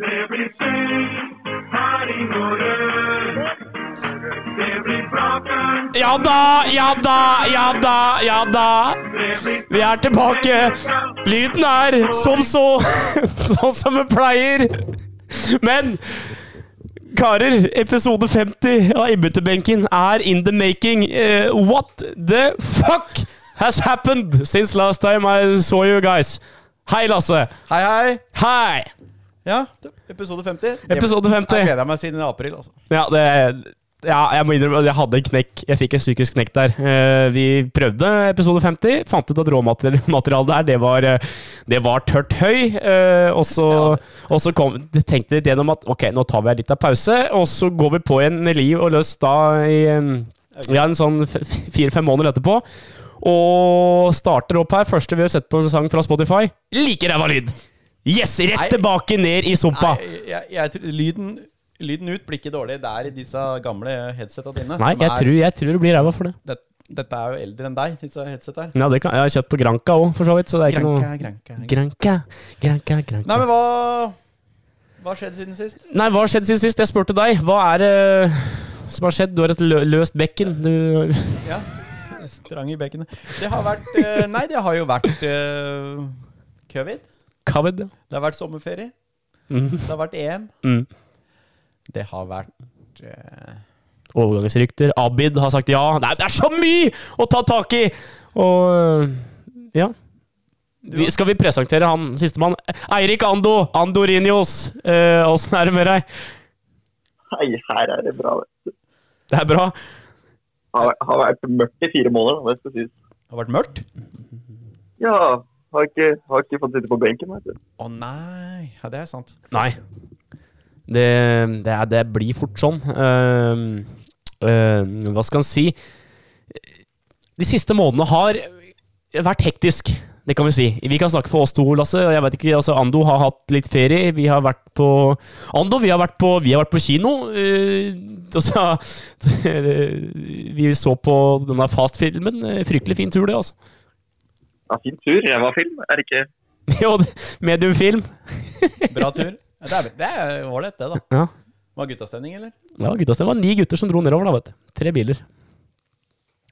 det blir spill her i Norden. Det blir praten, Ja da, ja da, ja da, ja da. det blir Vi er tilbake. Lyden er som så, sånn som vi pleier. Men karer, episode 50 av Ibbetebenken er in the making. Eh, what the fuck has happened since last time I saw you guys? Hei, Lasse. Hei, hei. Hei. Ja, episode 50. Episode Jeg 50. gleder meg siden april, altså. Ja, det ja, jeg må innrømme at jeg hadde en knekk. Jeg fikk en psykisk knekk der. Eh, vi prøvde episode 50, fant ut at råmaterialet der, det var, eh, det var tørt høy. eh, og så, og så kom, tenkte vi litt gjennom at ok, nå tar vi en liten pause, og så går vi på en liv og løs da i eh, ja, en sånn f- fire-fem måneder etterpå. Og starter opp her. Første vi har sett på en sang fra Spotify. Like ræva lyd! Yes! Rett Nei. tilbake ned i sumpa. Nei, jeg, jeg, tror- lyden, lyden ut blir ikke dårlig der i disse gamle headsetta dine. Nei, som jeg er- tror, jeg tror det blir ræva for det. det, Dette er jo eldre enn deg, disse headsetta her. Ja, det kan, jeg har kjøpt på Granca òg, for så vidt. Så det er ikke Granka, noe granka. Granca, Granca, Granca. Nei, men hva Hva skjedde siden sist? Nei, hva har skjedd siden sist? Jeg spurte deg. Hva er det eh, som har skjedd? Du har et lø løst bekken. Du Ja, Strang i bekenet. Det har vært eh, Nei, det har jo vært eh, covid. Covid. Det har vært sommerferie. Mm. Det har vært EM. Mm. Det har vært eh, Overgangsrykter. Abid har sagt ja. Nei, det er så mye å ta tak i! Og øh, ja. Vi, skal vi presentere han sistemann? Eirik Ando! Andorinios! Eh, Åssen er det med deg? Nei, her er det bra. vet du. Det er bra. Har, har vært mørkt i fire måneder, da, det skal sies. Det har vært mørkt. Ja, eh, har ikke, har ikke fått sitte på benken, vet du. Å nei! Ja, det er sant. Nei. Det, det, er, det blir fort sånn. Ehm, ehm, hva skal en si? De siste månedene har vært hektisk. Det kan vi si. Vi kan snakke for oss to, Lasse. Jeg vet ikke, altså Ando har hatt litt ferie. Vi har vært på Ando, vi har vært på, vi har vært på kino. Eh, altså, vi så på denne Fast-filmen. Eh, Fryktelig fin tur, det, altså. Ja, fin tur. Ræva film, er det ikke? Jo, mediumfilm. Bra tur. Ja, Det er- det er ålreit, det, da. Ja. Var guttastemning, eller? Ja, gutta, det var ni gutter som dro nedover, da, vet du. Tre biler.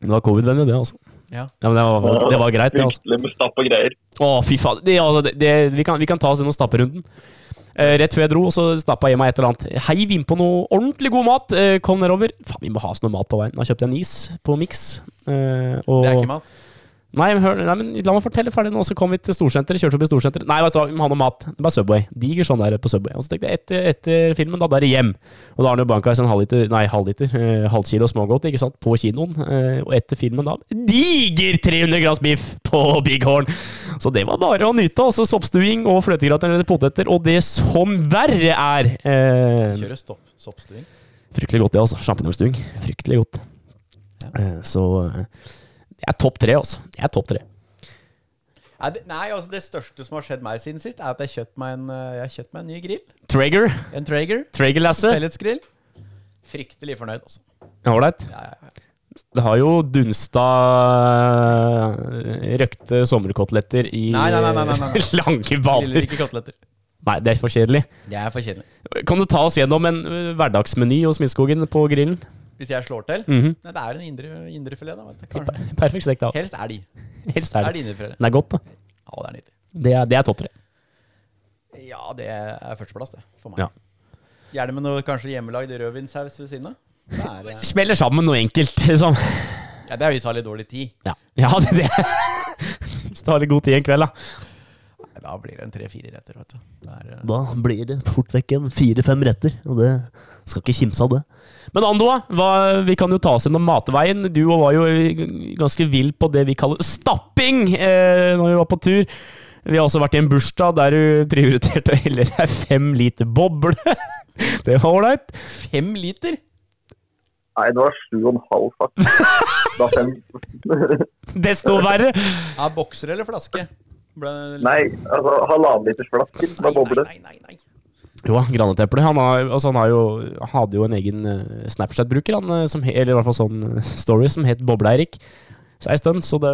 Men Det var covid-vennlig, det, altså. Ja. Ja, men det var, det var greit, det, altså. Fryktelig med stapp og greier. Å, fy faen. Det, altså, det, det, vi, kan, vi kan ta oss gjennom stapperunden. Eh, rett før jeg dro, så stappa jeg i meg et eller annet. Heiv innpå noe ordentlig god mat. Eh, kom nedover. Faen, vi må ha oss noe mat på veien. Da kjøpte jeg en is på Mix. Eh, og, Det er ikke mat. Nei, men hør, nei, men la meg fortelle ferdig nå. Så kom vi til storsenteret. Kjørte opp i storsenteret. Nei, vet du hva, vi må ha noe mat. Det var Subway. Diger sånn der på Subway. Og så tenkte jeg etter, etter filmen, da, da er det hjem. Og da har han jo banka i seg en halvliter, nei, halvliter, eh, halvkilo smågodt, ikke sant, på kinoen. Eh, og etter filmen, da, diger 300 grams biff på Big Horn. Så det var bare å nyte. Altså soppstuing og fløtegratinerte poteter. Og det som verre er eh, Kjøre stopp, soppstuing. Fryktelig godt, det, altså. Sjampinjongstuing. Fryktelig godt. Eh, så eh, jeg er topp tre, altså. Jeg er topp tre. Nei, det- Nei, altså det største som har skjedd meg siden sist, er at jeg kjøpte meg en, eh, jeg kjøpt meg en ny grill. Traeger. En Traeger. Traeger, Lasse. Pelletsgrill. Fryktelig fornøyd, altså. Ålreit. Ja, ja, ja. Det har jo dunsta eh, røkte sommerkoteletter i Nei, nei, nei, nei, nei, nei. lange Griller baner. ikke koteletter. Nei, det er for kjedelig. Jeg er for kjedelig. Kan du ta oss gjennom en eh, hverdagsmeny hos Midtskogen på grillen? Hvis jeg slår til Mhm. Nei, det er en indre, indrefilet, da. Vet du. Kanskje. Perfekt stekt, da. Helst elg. Helst Er er det det. indrefilet? Den er godt, da. Ja, det er nydelig. Det er, det er topp tre. Ja, det er førsteplass, det. For meg. Ja. Gjerne med noe kanskje hjemmelagd rødvinssaus ved siden av. Det er, eh, Smeller sammen noe enkelt, liksom. ja, det er hvis jeg har litt dårlig tid. Ja, ja det, det. Hvis du har litt god tid en kveld, da. Nei, Da blir det en tre-fire retter, vet du. Det er, eh, Da blir det fort vekk en fire-fem retter, og det skal ikke kimse av det. Men Ando, da, hva, vi kan jo ta oss gjennom matveien. Du var jo ganske vill på det vi kaller stapping eh, når vi var på tur. Vi har også vært i en bursdag der du prioriterte å helle deg fem liter boble. Det var ålreit. Fem liter? Nei, det var sju og Ah, en halv, faktisk. Da fem. Desto verre. Ja, bokser eller flaske? Ble- Nei, altså halvannen liters flaske med boble. Nei, nei, nei. nei. Jo da, Granateplet. Han, har, altså, han har jo, hadde jo en egen eh, Snapchat-bruker, han, eh, som, he- eller i hvert fall sånn eh, story, som het Boble-Eirik. Så ei stund, så det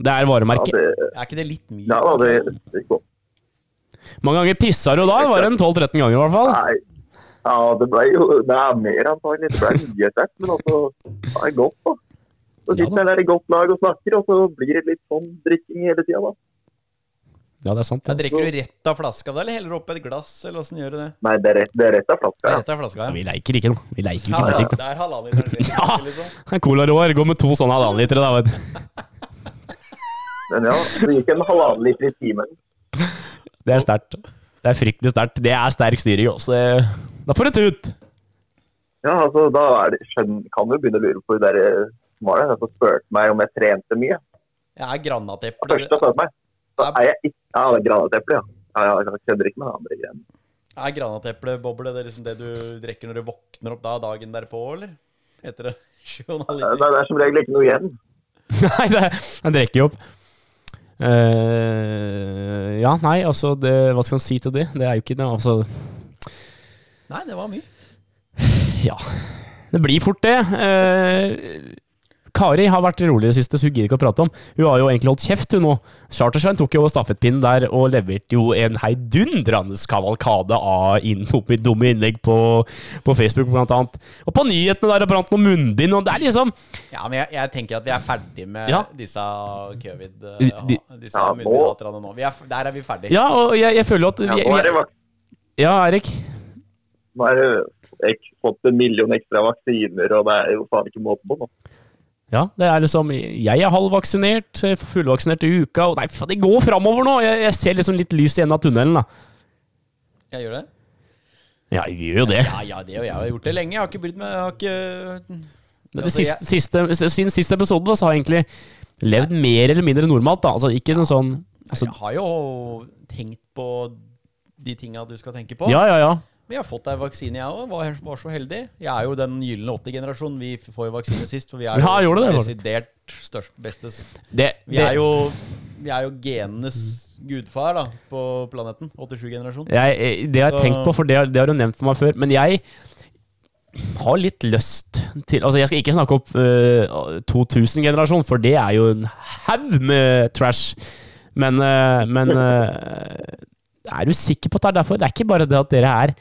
Det er Ja, varemerket. det, nou, Er ikke det litt mye? eh, ja da, det, det går. Mange ganger pissa du da? Det var en 12-13 ganger i hvert fall. Nei. Ja, det ble jo det er mer antagelig. Det ble mye etter hvert, men altså, det er godt, da. Ja, Så da. sitter jeg der i godt lag og snakker, og så blir det litt sånn drikking hele tida, da. Ja, det er sant. Da Altså. drikker du rett av flaska, da, eller heller opp et glass, eller åssen gjør du det? Nei, det er rett, det er rett av Det er flaska. Ja. Rett av flaska, Ja, ja. vi leker ikke, da. Vi leker Ja, ikke ja, politikk, det er halvannen liter. Ja. liksom. da. Cola Rå går med to sånne halvannenlitere, da. Vet. du. Men ja, det gikk en halvannen liter i timen. Det er sterkt. Det er fryktelig sterkt. Det er sterk styring også. Det- Da får du tut! Ja, altså, da er det, skjønn, kan du begynne å lure på det der eh, som var det, som spurte meg om jeg trente mye. Jeg er Det første granateple. jeg spurte meg. Da er jeg ikke Ja, det er granateple, ja. Ja, ja, jeg kødder ikke med de andre greiene. Er granatepleboble det, er liksom det du drikker når du våkner opp da dagen derpå, eller? Heter det Nei, journalitikk? det er som regel ikke noe igjen. Nei, det, han drikker jo opp. Eh, ja, nei, altså det, Hva skal han si til det? Det er jo ikke det. Altså, Nei, det var mye. ja. Det blir fort det. Eh, Kari har vært rolig i det siste, så hun gidder ikke å prate om. Hun har jo egentlig holdt kjeft, hun nå. Chartersveien tok jo over stafettpinnen der og leverte jo en heidundrende kavalkade av inn, dumme, dumme innlegg på, på Facebook, blant annet. Og på nyhetene der og brant noe munnbind, og det er liksom Ja, men jeg, jeg tenker at vi er ferdig med Ja. disse covid... De- eh, de- disse Ja, ja, nå- nå. Vi er, f- der er vi ferdig. Ja, og jeg, jeg føler jo at Ja, vi, nå er det vi, vak- Ja, Erik. Nå er det ek- fått en million ekstra vaksiner, og det er jo faen ikke måte på nå. Ja, det er liksom Jeg er halvvaksinert, jeg får fullvaksinert i uka og Nei, faen, det går framover nå! Jeg, jeg ser liksom litt lys i enden av tunnelen, da. Jeg gjør det? Ja, jeg gjør jo det. Ja, ja, det og jeg har gjort det lenge. Jeg har ikke brydd meg. Jeg har ikke Men det Altså, jeg- siste, siste, siden siste episode da, så har jeg egentlig levd mer eller mindre normalt, da. Altså ikke noe sånn altså, Jeg har jo tenkt på de tinga du skal tenke på. Ja, ja, ja. Men jeg har fått ei vaksine, jeg òg. Var, var så heldig. Jeg er jo den gylne 80-generasjonen. Vi f- får jo vaksine sist, for vi er jo Ja, gjorde det, var det. desidert størst beste s- Det, Vi det er jo, vi er jo genenes gudfar da, på planeten. 87-generasjon. jeg, jeg- Det har jeg Så- tenkt på, for det, har- det har du nevnt for meg før. Men jeg har litt lyst til Altså, jeg skal ikke snakke opp eh, 2000-generasjonen, for det er jo en haug med trash. Men, eh, men eh, er du sikker på at det er derfor? Det er ikke bare det at dere er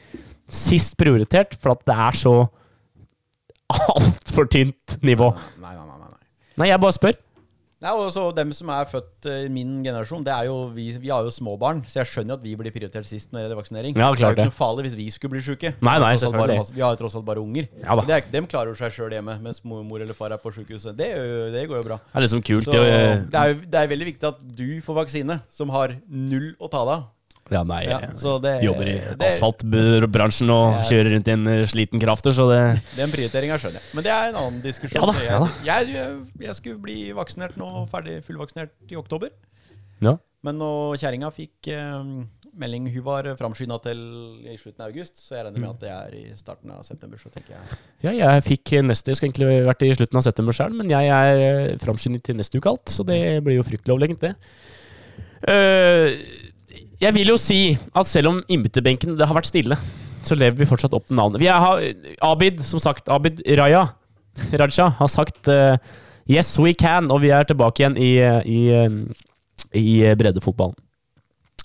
sist prioritert, for at det er så altfor tynt nivå. Nei, nei, nei. nei, nei. Nei, jeg bare spør. Nei, og så Dem som er født eh, i min generasjon, det er jo vi, vi har jo småbarn. Så jeg skjønner jo at vi blir prioritert sist når det gjelder vaksinering. Ja, klart det er det. jo ikke noe farlig hvis vi skulle bli sjuke. Nei, nei, Tross alt bare selvfølgelig. masse- Vi har jo tross alt bare unger. Ja da. det er, dem klarer jo seg sjøl hjemme, mens mor, mor eller far er på sjukehuset. Det, gjør jo- det går jo bra. Det er liksom kult. Så det, det er, jo- det er veldig viktig at du får vaksine, som har null å ta deg av. ja, nei, Ja, så det- jobber i det- asfaltbransjen og kjører rundt i en eh, sliten krafter, så det Den prioriteringa skjønner jeg. Men det er en annen diskusjon. Ja da, ja Jeg, jeg, jeg skulle bli vaksinert nå, ferdig fullvaksinert i oktober. Ja. Men nå kjerringa fikk eh, melding Hun var framskynda til i slutten av august, så jeg regner med at det er i starten av september. Så tenker jeg Ja, jeg fikk neste, jeg skulle egentlig vært i slutten av september selv, men jeg er eh, framskyndet til neste uke alt, så det blir jo fryktelig overlegent det. Eh, jeg vil jo si at selv om innbytterbenken det har vært stille, så lever vi fortsatt opp til navnet. Vi har, Abid, som sagt, Abid Raja, Raja har sagt eh, yes we can, og vi er tilbake igjen i, eh, i, eh, i breddefotballen.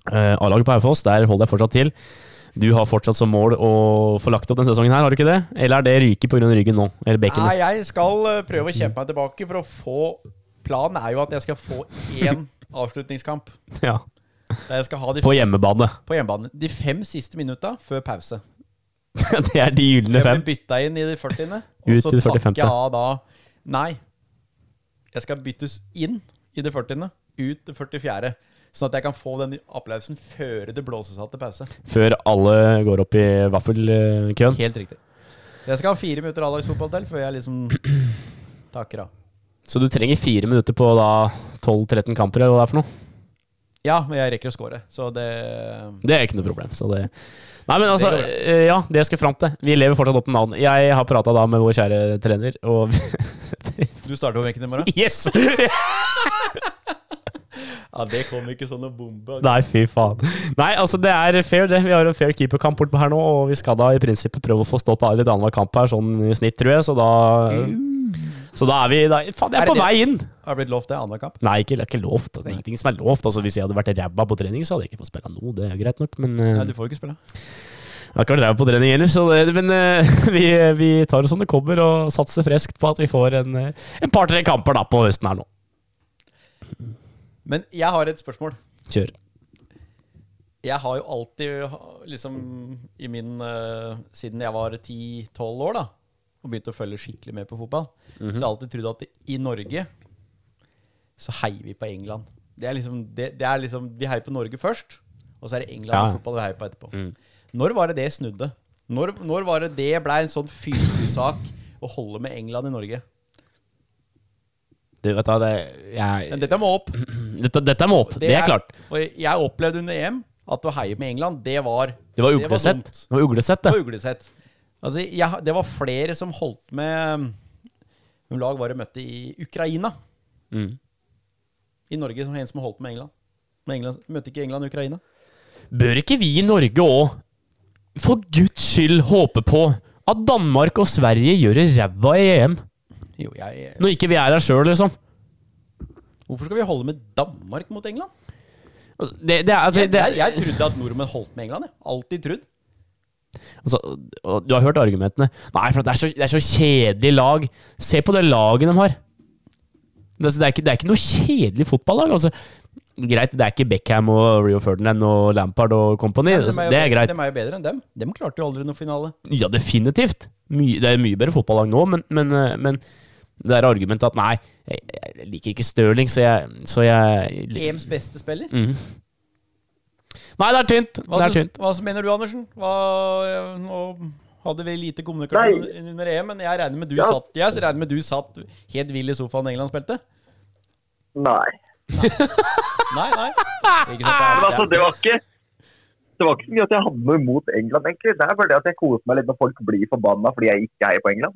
Eh, A-laget på Haufoss, der holder jeg fortsatt til. Du har fortsatt som mål å få lagt opp denne sesongen her, har du ikke det? Eller er det ryket pga. ryggen nå? Eller Nei, bekkenet? jeg skal eh, prøve å kjempe meg tilbake for å få Planen er jo at jeg skal få én avslutningskamp. Ja. Der jeg skal ha de På hjemmebane. på hjemmebane. De fem siste minutta før pause. det er de gylne Jeg ble fem. bytta inn i de 40. Ut Og så i det 45.. takker jeg av da Nei. Jeg skal byttes inn i det 40., ut det 44., sånn at jeg kan få den applausen før det blåses av til pause. Før alle går opp i vaffelkøen. Helt riktig. Jeg skal ha fire minutter A-lagsfotball til før jeg liksom takker av. Så du trenger fire minutter på da 12-13 kamper, eller hva det er for noe. Ja, men jeg rekker å score, så det Det er ikke noe problem. Så det Nei, men altså, Det går bra. eh, ja, det jeg skulle fram til. Vi lever fortsatt opp til navn. Jeg har prata da med vår kjære trener, og Du starter på benken i morgen? Yes! Ja, det kom ikke sånn noe bombe. Nei, fy faen. Nei, altså det er fair, det. Vi har en fair keeperkamp bortpå her nå, og vi skal da i prinsippet prøve å få stått av litt annenhver kamp her, sånn i snitt, tror jeg, så da Så da er vi da, Faen, jeg Er er på det det? vei inn! Har det blitt lovt det annenhver kamp? Nei, ikke, det er ikke lovt. Altså, Det er ingenting som er lovt. Altså, hvis jeg hadde vært ræva på trening, så hadde jeg ikke fått spille nå. Det er greit nok, men eh, Nei, du får jo ikke spille. jeg har ikke vært ræva på trening heller, så det, men eh, vi, vi tar det som det kommer, og satser freskt på at vi får en, eh, en par-tre kamper da på høsten her nå. Men jeg har et spørsmål. Kjør. Jeg har jo alltid, ha- liksom i min eh, Siden jeg var 10-12 år, da, og begynte å følge skikkelig med på fotball, Mhm. så har jeg alltid trodd at i Norge så heier vi på England. Det er liksom, det, det er liksom Vi heier på Norge først, og så er det England Ja. Mm. og fotball vi heier på etterpå. Når var det det snudde? Når, når var det det blei en sånn fylkesak å holde med England i Norge? Du vet da, det, Men jeg, dette må opp. dette, dette må opp. Det er klart. For jeg opplevde under EM at å heie med England, det var Det var uglesett. dumt. Det var uglesett, Det det. var uglesett. Altså, jeg, det var flere som holdt med um, Hvem lag var det møtte i Ukraina? Mm. I Norge, som en som holdt med England. Men England møtte ikke England Ukraina? Bør ikke vi i Norge òg, for guds skyld, håpe på at Danmark og Sverige gjør det ræva i EM? Jo, jeg Når ikke vi er her sjøl, liksom. Hvorfor skal vi holde med Danmark mot England? Det, det er, altså, Jeg, det er, jeg, jeg trodde at nordmenn holdt med England. jeg. Alltid trodd. altså, og du har hørt argumentene. Nei, for det er så, det er så kjedelig lag. Se på det laget de har. Det, altså, det, er ikke, det er ikke noe kjedelig fotballag. Altså. Greit, det er ikke Beckham og Rio Ferdinand og Lampard og company. Dem altså, jo det er bedre- greit. Dem er jo bedre enn dem. Dem klarte jo aldri noen finale. Ja, definitivt. Mye- det er mye bedre fotballag nå, men, men, eh, men det er argumentet at nei, jeg, jeg liker ikke Stirling, så jeg, så jeg EMs beste spiller. Nei, det er tynt! Det Hva, er syns- tynt. hva mener du, Andersen? Hva, eh, nå hadde vi lite kommunikasjon Nei. under- under EM, men jeg regner med du Ja. satt Jeg regner med du satt helt vill i sofaen da England spilte? Nei. Nei, nei. Ikke sant, det Men er- altså, det var ikke det var ikke så mye at jeg hadde noe imot England, egentlig. Det er bare det at jeg koser meg litt når folk blir forbanna fordi jeg ikke heier på England.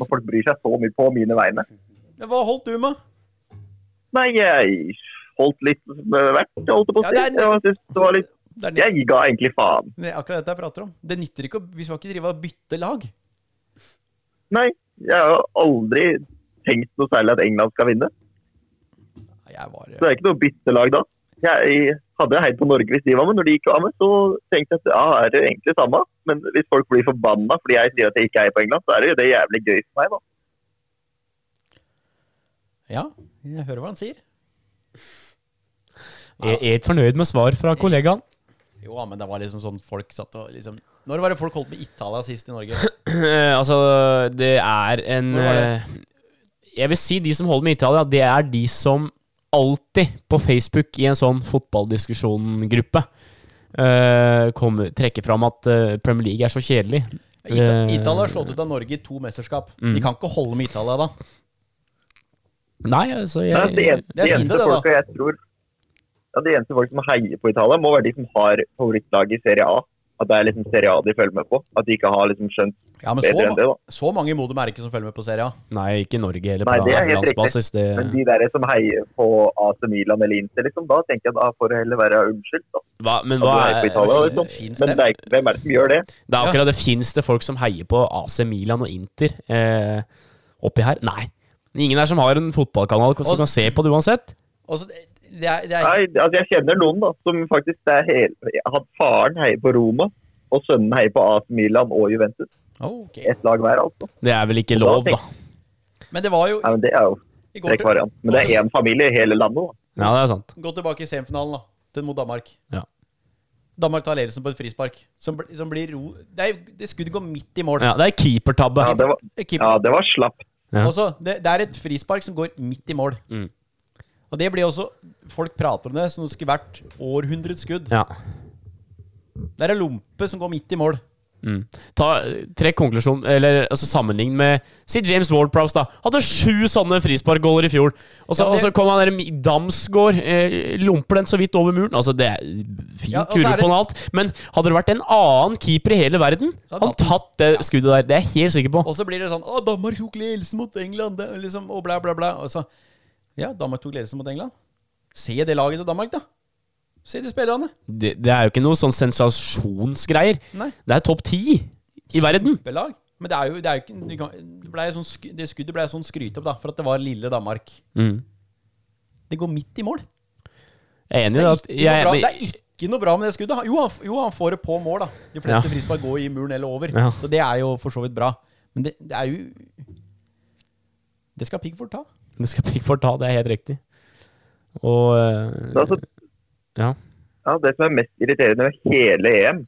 Når folk bryr seg så mye på mine vegne. Men Hva holdt du med? Nei, jeg holdt litt med hvert, holdt jeg på å Ja, si. det er- Jeg synes det var litt Det er nytt- Jeg ga egentlig faen. det er akkurat dette jeg prater om. Det nytter ikke å Vi skal ikke drive og bytte lag. Nei, jeg har aldri tenkt noe særlig at England skal vinne. Jeg var eh, Så det er ikke noe byttelag da. Jeg hadde heiet på Norge hvis de var med. Når de ikke var med, så tenkte jeg at ja, er det egentlig samme? Men hvis folk blir forbanna fordi jeg sier at jeg ikke heier på England, så er det jo det jævlig gøy for meg, da. Ja, jeg hører hva han sier. Jeg er ikke fornøyd med svar fra kollegaen. Jo, men det var liksom sånn folk satt og liksom Når var det folk holdt med Italia sist i Norge? altså, det er en Hvor var det? eh, Jeg vil si de som holder med Italia, det er de som alltid på Facebook i en sånn fotballdiskusjongruppe eh, kommer- trekker fram at eh, Premier League er så kjedelig. Ita Eh, Italia har slått ut av Norge i to mesterskap. Mm. Vi kan ikke holde med Italia da. Nei, altså jeg, Nei, det, det er en, de fint, det, eneste da. folka jeg tror ja, De eneste folk som heier på Italia, må være de som har favorittlaget i Serie A. At det er liksom Serie A de følger med på. At de ikke har liksom skjønt Ja, men bedre enn det. så, da. så mange i Modum er det ikke som følger med på Serie A. Nei, ikke i Norge heller. Nei, På det er helt landsbasis. Det, Men de der som heier på AC Milan eller Inter, liksom, da tenker jeg da får det heller være unnskyldt. da. hva, men At hva du heier Altså, på Italia, er, liksom. Finnes Men det? det er, ikke- hvem er det som gjør det? det er akkurat det fins det folk som heier på AC Milan og Inter eh, oppi her. Nei. Ingen her som har en fotballkanal som Og- kan se på det uansett. Og så- det er, det er, Nei, altså Jeg kjenner noen da, som faktisk det er hele, at faren heier på Roma, og sønnen heier på AC Milan og Juventus. Ok. Ett lag hver, altså. Det er vel ikke Og da lov, da. tenk- Men det var jo Nei, men Det er jo i går frekk variant. Men det er én familie i hele landet. da. Ja, det er sant. Gå tilbake i semifinalen, da. Til mot Danmark. Ja. Danmark tar ledelsen på et frispark. Som, bl- som blir ro... Det, er, jo- det skuddet går midt i mål. Ja, det er keepertabbe. Ja, det var, Keeper- ja, det var slapt. Ja. Også, det, det er et frispark som går midt i mål. Mm. Og det blir også Folk prater om det som det skulle vært århundrets skudd. Ja. Det er en lompe som går midt i mål. Mm. Ta, trekk konklusjon, eller altså, sammenlign med Si James Ward-Prowse, da. Hadde sju sånne frisparkgåler i fjor. Og så, Ja, det- og så kom han der Mi- Damsgaard, eh, lomper den så vidt over muren. Altså, det er fin Ja, og så kurve er det- på den alt, men hadde det vært en annen keeper i hele verden, Så hadde han tatt det skuddet der. Det er jeg helt sikker på. Og så blir det sånn Å, Danmark tok ledelsen mot England! Det, er liksom, og bla, bla, bla. Og så, ja, Danmark tok ledelsen mot England. Se det laget til Danmark, da! Se de spillerne! Det, det er jo ikke noe sånn sensasjonsgreier. Nei. Det er topp ti i verden. Belag. Men det er jo, det er jo ikke du kan, det, ble sånn, sk- det skuddet ble sånn skryt opp, da, for at det var lille Danmark. Mm. Det går midt i mål. Jeg er enig Det i er, det. At ikke noe bra, men- det er ikke noe bra med det skuddet. Han- Jo, han, f- jo, han får det på mål, da. De fleste Ja. frispark går i muren eller over. Ja. Så det er jo for så vidt bra. Men det, det er jo Det skal Pickford ta. det skal Pickford ta, det er helt riktig. Og eh, Men altså, Ja. Ja, Det som er mest irriterende med hele EM,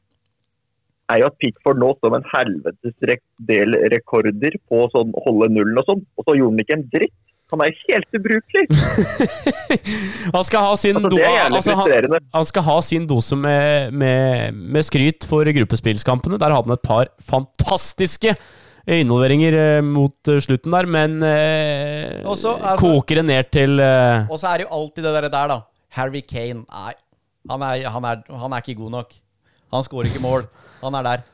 er jo at Pickford nå står med en helvetes rek- del rekorder på å sånn holde nullen og sånn, og så gjorde han ikke en dritt. Han er helt ubrukelig! Han skal ha sin Altså, do- det er jævlig altså, han, frustrerende. han skal ha sin dose med, med, med skryt for gruppespillskampene. Der hadde han et par fantastiske involveringer eh, mot eh, slutten der, men eh, Og så, altså- koker det ned til eh, Og så er det jo alltid det der, der da. Harry Kane. Nei, han er, han, er, han er ikke god nok. Han skårer ikke mål. Han er der.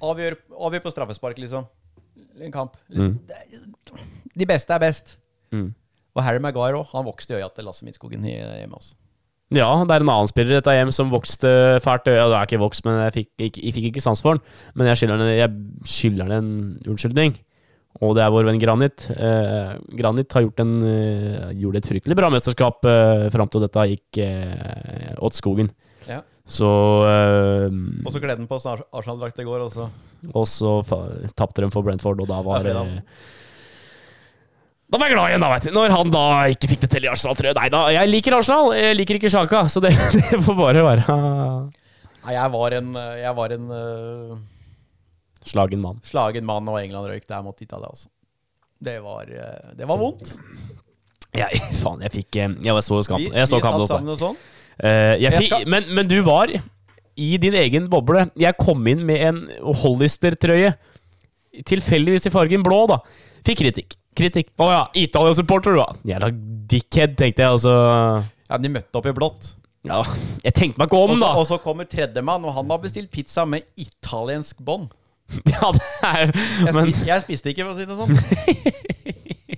Avgjør, avgjør på straffespark, liksom. En kamp. Liksom. Det er- De beste er best. Mm. Og Harry Maguire òg. Han vokste i øya til Lasse Midtskogen i- hjemme hos oss. Ja, det er en annen spiller i dette hjem som vokste fælt. Ja, det er ikke vokst, men jeg fikk ikke, jeg fikk ikke sans for den. Men jeg skylder den- jeg skylder den en unnskyldning. Og det er vår venn Granit. Eh, Granit har gjort en, eh, gjorde et fryktelig bra mesterskap eh, fram til dette gikk eh, åt skogen. Ja. Så eh, Og så kledde han på seg Ars- Arsenal-drakt i går, og så Og så fa- tapte de for Brentford, og da var Ja, fredag. eh, da var jeg glad igjen, da, vet du. Når han da ikke fikk det til i Arsenal, tror jeg. Nei da, jeg liker Arsenal, jeg liker ikke Sjaka, så det, det får bare være Nei, jeg var en, jeg var en øh, Slagen mann. slagen mann, og England røyk der mot Italia, altså. Det var, øh, det var vondt. Jeg, faen, jeg fikk eh, Jeg så kampen. Jeg så vi kampen satt hos deg. sammen og sånn. Eh, jeg Jeg fikk, skal- men, men du var i din egen boble. Jeg kom inn med en Hollister-trøye. Tilfeldigvis i fargen blå, da. Fikk kritikk. Kritikk. Å ja, Italia-supporter, du, da. Jævla dickhead, tenkte jeg, altså. Ja, de møtte opp i blått. Ja, jeg tenkte meg ikke om, Og så, da. og så kommer tredjemann, og han har bestilt pizza med italiensk bånd. Ja, det er Jeg, Men spis, jeg spiste ikke, for å si det sånn.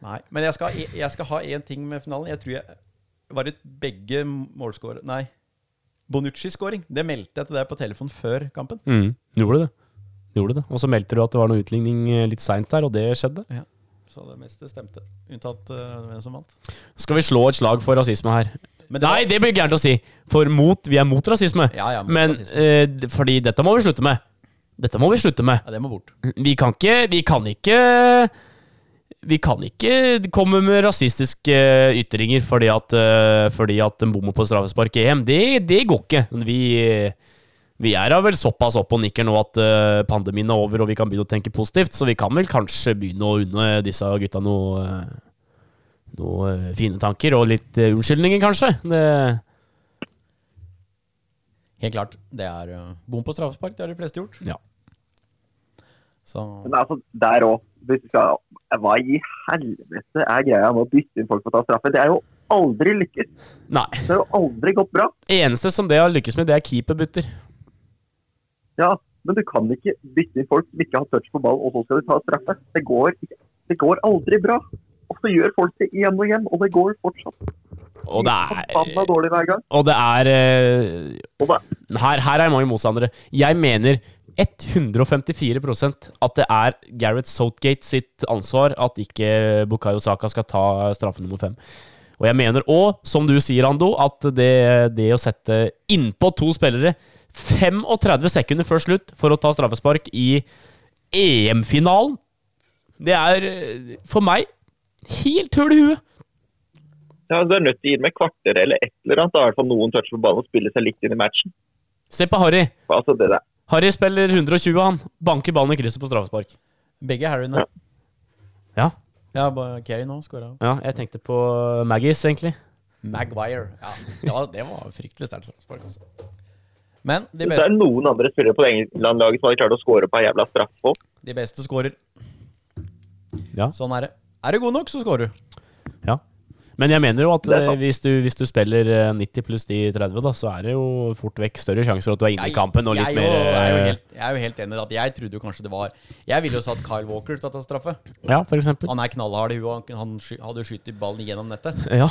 Nei, men jeg skal, jeg skal ha én ting med finalen. Jeg tror jeg var det begge målskårer Nei. Bonucci-skåring. Det meldte jeg til deg på telefon før kampen. mm, du gjorde det. Du gjorde det. Og så meldte du at det var noe utligning eh, litt seint der, og det skjedde. Ja. Så det meste stemte. Unntatt øh, hvem som vant. Skal vi slå et slag for rasisme her? Men det Nei, det blir gærent å si. For mot, vi er mot rasisme. Ja, ja, mot Men rasisme. eh, d- fordi dette må vi slutte med. Dette må vi slutte med. Ja, det må bort. Vi kan ikke Vi kan ikke vi kan ikke komme med rasistiske ytringer fordi at, eh, fordi at en bommer på straffespark i EM. Det, det går ikke. Men Vi, vi er da vel såpass opp og nikker nå at eh, pandemien er over og vi kan begynne å tenke positivt, så vi kan vel kanskje begynne å unne disse gutta noe, eh, noe eh, fine tanker og litt eh, unnskyldninger, kanskje. Det, Helt klart. Det er øh, bom på straffespark. Det har de fleste gjort. ja. Så Men altså, der òg. Hva i helvete er greia med å bytte inn folk for å ta straffe? Det er jo aldri lykkes. Nei. Det har jo aldri gått bra. Eneste som det har lykkes med, det er keeperbytter. Ja, men du kan ikke bytte inn folk som ikke har touch på ball, og så skal du ta straffe. Det går, ikke- det går aldri bra. Og så gjør folk det igjen og igjen, og det går fortsatt Og det er, forbanna dårlig hver gang. og det er eh, Og da, her, her er mange motstandere. Jeg mener 154 at det er Gareth Southgate sitt ansvar at ikke Bukayo Saka skal ta straffe nummer fem. Og jeg mener òg, som du sier, Ando, at det, det å sette innpå to spillere 35 sekunder før slutt for å ta straffespark i EM-finalen, det er eh, for meg helt hull i huet. ja, du er nødt til å gi dem et kvarter eller et eller annet. Da er i hvert fall noen touch på ballen og spiller seg litt inn i matchen. Se på Harry. For Altså, det der. Harry spiller 120, han. Banker ballen i krysset på straffespark. begge Harryene. Ja, Ja, bare Kerry nå skåra. Ja, jeg tenkte på Maggies, egentlig. Maguire. Ja, det var, det var fryktelig sterkt straffespark. Altså. Men de Det er beste, noen andre spillere på det England-laget som hadde klart å score på ei jævla straff òg. de beste skårer. Ja. Sånn er det. Er du god nok, så skårer du. Ja. Men jeg mener jo at Det er eh, sant. hvis du, hvis du spiller eh, 90 pluss de 30, da, så er det jo fort vekk større sjanser at du er inne i kampen og litt jeg, mer jo, er jo eh, helt, jeg er jo helt enig i at jeg trodde jo kanskje det var Jeg ville jo satt Kyle Walker til å ta straffe. Ja, for eksempel. Han er knallhard i huet. Han, han sky, hadde jo skutt ballen gjennom nettet. Ja.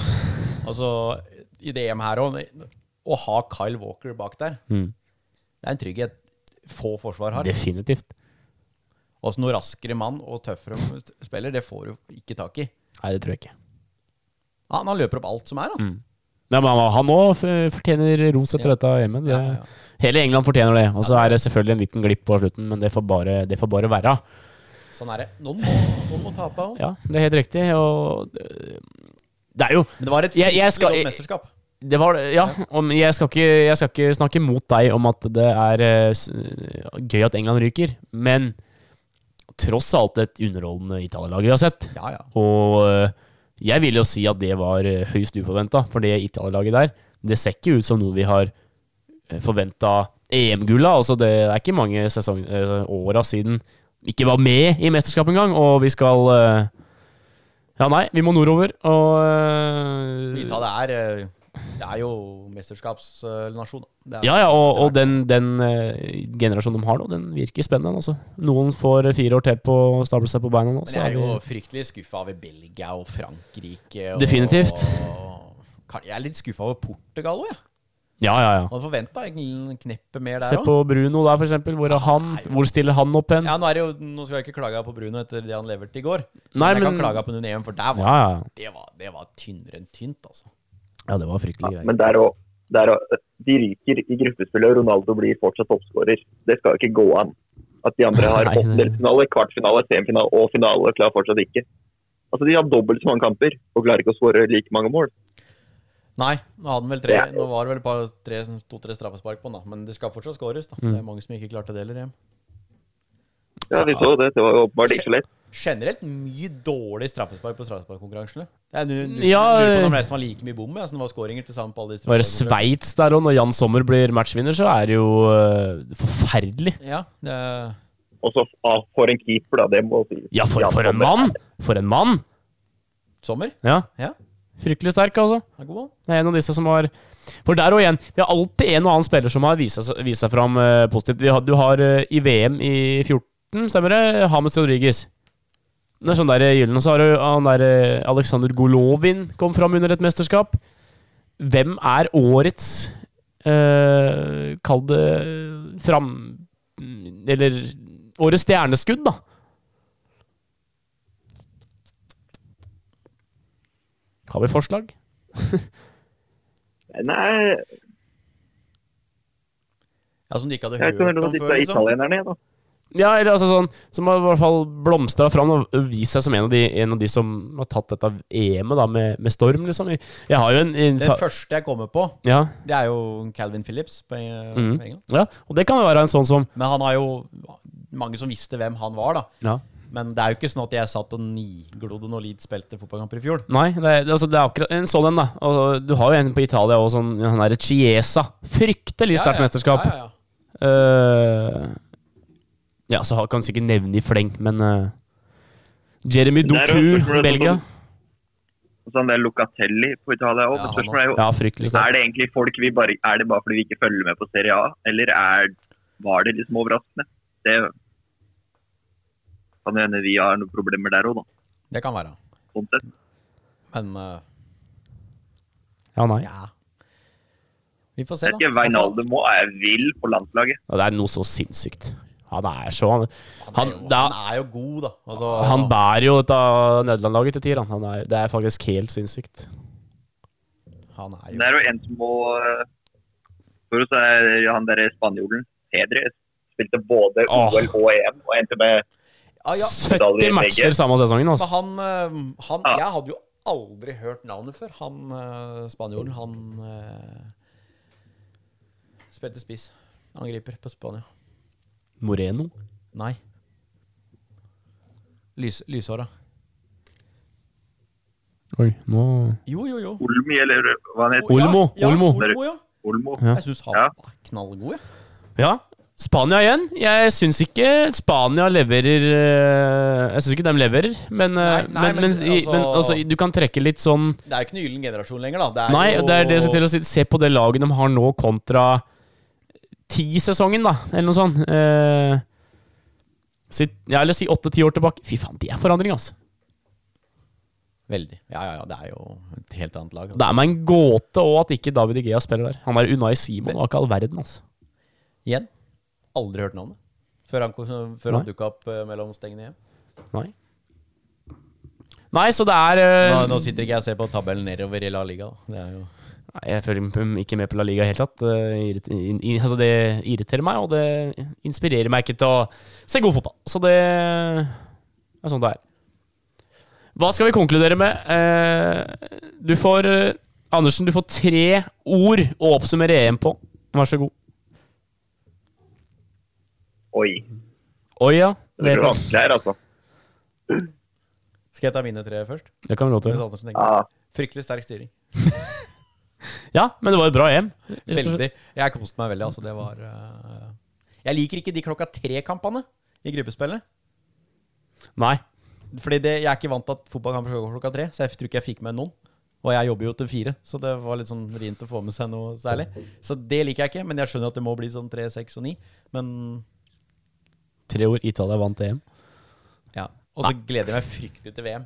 Altså, Mm. i det EM her òg Å ha Kyle Walker bak der, det er en trygghet. få forsvar har. Definitivt. Også noe raskere mann og tøffere spiller, det får du ikke tak i. Nei, det tror jeg ikke. Han, han løper opp alt som er, da. Mm. Nei, men han- han òg fortjener ros etter Ja. dette hjemme. Det, Ja, ja, ja. Hele England fortjener det. Og så er det selvfølgelig en liten glipp på slutten, men det får bare, det får bare være. Sånn er det. Noen må, noen må tape òg. Ja, det er helt riktig. Og øh, det er jo Men det var et Jeg- jeg fryktelig skal- godt mesterskap. det var, Ja, om, jeg, skal ikke, jeg skal ikke snakke mot deg om at det er øh, s- gøy at England ryker, men tross alt et underholdende Italia-lag vi har sett. Ja, ja. Og øh, jeg vil jo si at det var øh, høyst uforventa, for det Italia-laget der, det ser ikke ut som noe vi har eh, forventa EM-gulla. Altså, det er ikke mange sesong, eh, åra siden vi ikke var med i mesterskapet engang, og vi skal eh, Ja, nei, vi må nordover, og eh, Italia er, eh, det er jo mesterskapsnasjon. da. Det er- Ja, ja, og, og den, den eh, generasjonen de har nå, den virker spennende. Altså. Noen får fire år til på å stable seg på beina nå. Men Så jeg er er vi, jo fryktelig skuffa over Belgia og Frankrike. Og, Definitivt. Kan- Jeg er litt skuffa over Portugal òg, jeg. ja, ja, ja. Hadde forventa en kneppe mer Se der òg. på Bruno der, for eksempel. Hvor, er han, hvor stiller han opp hen? Ja, nå, er det jo, nå skal jeg ikke klage på Bruno etter det han leverte i går. Nei, men jeg men- kan klage på noen EM, for der var, Ja, ja. det, var, det var tynnere enn tynt, altså. ja, det var fryktelige Ja, greier. men der òg. De ryker i gruppespillet, og Ronaldo blir fortsatt toppskårer. Det skal ikke gå an. At de andre har Nei, det- åttendelsfinale, kvartfinale, semifinale og finale, klarer fortsatt ikke. Altså, De har dobbelt så mange kamper og klarer ikke å skåre like mange mål. Nei, nå hadde han vel tre Ja. Nå var det vel bare tre- to-tre straffespark på han, da. Men det skal fortsatt skåres, da. Mm. Det er mange som ikke klarte det heller. EM. Ja, vi så det. Det var jo åpenbart ikke så lett. Generelt mye dårlig straffespark på straffesparkkonkurransene. Jeg lurer lurer Ja, på eh. om det er som var like mye bom, ja, som det var skåringer til sammen på alle de Bare straffesparkkonkurransene. Sveits der òg, når Jan Sommer blir matchvinner, så er det jo eh, forferdelig. Ja, det er Og så ah, for en keeper, da. Det må sies. Ja, for, Jan for en Sommer. mann! For en mann! Sommer. Ja, Ja, Fryktelig sterk, altså. er god, han. Det er en av disse som har For der og igjen, vi har alltid en og annen spiller som har vist seg, vist seg fram eh, positivt. Vi har, du har eh, i VM i 14, stemmer det? Hames Rodriguez. Det er sånn der eh, gyllen. Og så har du han der eh, Aleksandr Golovin kom fram under et mesterskap. Hvem er årets eh, Kall det fram... Eller årets stjerneskudd, da. Har vi forslag? Nei, Ja, som du ikke hadde jeg hørt kan høre om at før, disse liksom. italienerne, da. Ja, eller altså sånn Som har i hvert fall blomstra fram og vist seg som en av de, en av de som har tatt dette EM-et da med, med storm, liksom. Jeg har jo en, en Det fa første jeg kommer på, ja, det er jo Calvin Phillips på eh, Mhm. på England. ja, og det kan jo være en sånn som Men han har jo mange som visste hvem han var, da. ja. Men det er jo ikke sånn at jeg satt og niglodde når Leeds spilte fotballkamper i fjor. Nei, det, er- det, altså, det er akkurat en sånn en, da. Og du har jo en på Italia òg, sånn han derre Chiesa. Fryktelig Ja, sterkt ja, mesterskap. Ja, ja, ja. Eh, ja, så har- kan du sikkert nevne i fleng, men eh, Jeremy Det er jo et spørsmål, Doku, det er Belgia. sånn- Sånn der Lucatelli på Italia òg. Ja, han spørsmålet er jo Ja, fryktelig sterkt. Er det egentlig folk vi bare Er det bare fordi vi ikke følger med på Serie A, eller er, var det liksom overraskende? Det kan jo hende vi har noen problemer der òg, da. Det kan være. Sånn sett. Men eh, Ja, nei. ja Vi får se, Jeg da. husker Wijnaldum òg er vill på landslaget. Ja, Det er noe så sinnssykt. Han er så Han, han, Han, er jo- det er- han er jo god, da. Altså, han bærer jo dette Nederland-laget til tider. han. Han er, det er faktisk helt sinnssykt. han er Det jo er jo en som må eh, For oss er han der spanjolen Pedri spilte både Åh. OL og EM og endte med ah, ja, 70 matcher samme sesongen, men altså. han, eh, han Ja. Jeg hadde jo aldri hørt navnet før. Han eh, spanjolen, han eh, Spilte spiss. Angriper på Spania. Moreno. Nei. Lys, lyshåra. Oi, nå Jo, jo, jo. Olmi, eller hva han heter. Olmo, Ja, ja, Olmo. Olmo ja. Olmo. Ja. Jeg syns han Ja. er knallgod, jeg. Ja. Spania igjen. Jeg syns ikke Spania leverer eh, Jeg syns ikke de leverer, men, eh, Nei, nei, men, men, men i- altså- men altså, i- du kan trekke litt sånn Det er jo ikke den gyllen generasjon lenger, da. Det er Nei, jo, det er det jeg skal til å si. Se på det laget de har nå, kontra ti-sesongen, da, eller noe sånt. Eh, si, ja, eller si åtte-ti år tilbake. Fy faen, det er forandring, altså. Veldig. Ja, ja, ja. Det er jo et helt annet lag. Det er meg en altså. gåte òg at ikke David Igea spiller der. Han er Unai Simon og ikke all verden, altså. Igjen. aldri hørt navnet før han, kom- før han Nei. dukka opp eh, mellom stengene hjemme. Nei. Nei, så det er eh, Nå, nå sitter ikke jeg og ser på tabellen nedover i La Liga. da. Det er jo Nei, Jeg følger ikke med på La Liga i det hele tatt. Det irrit- in- in- altså, det irriterer meg, og det inspirerer meg ikke til å se god fotball. Så det er sånn det er. Hva skal vi konkludere med? Eh, Du får eh, Andersen, du får tre ord å oppsummere EM på. Vær så god. Oi. Oi, ja. Det Det, blir vanskelig her, altså. Skal jeg ta mine tre først? det kan vi godt Hvis gjøre. Andersen Ja. tenker. Fryktelig sterk styring. Ja, men det var et bra EM. Veldig. Jeg koste meg veldig. Altså, det var eh, Jeg liker ikke de klokka tre-kampene i gruppespillet. Nei. Fordi det, jeg er ikke vant til at fotballkamper skal gå klokka tre, så jeg tror ikke jeg fikk med noen. Og jeg jobber jo til fire, så det var litt sånn vrient å få med seg noe særlig. Så det liker jeg ikke, men jeg skjønner at det må bli sånn tre, seks og ni. Men Tre ord Italia vant EM. ja. Og så gleder jeg meg fryktelig til VM.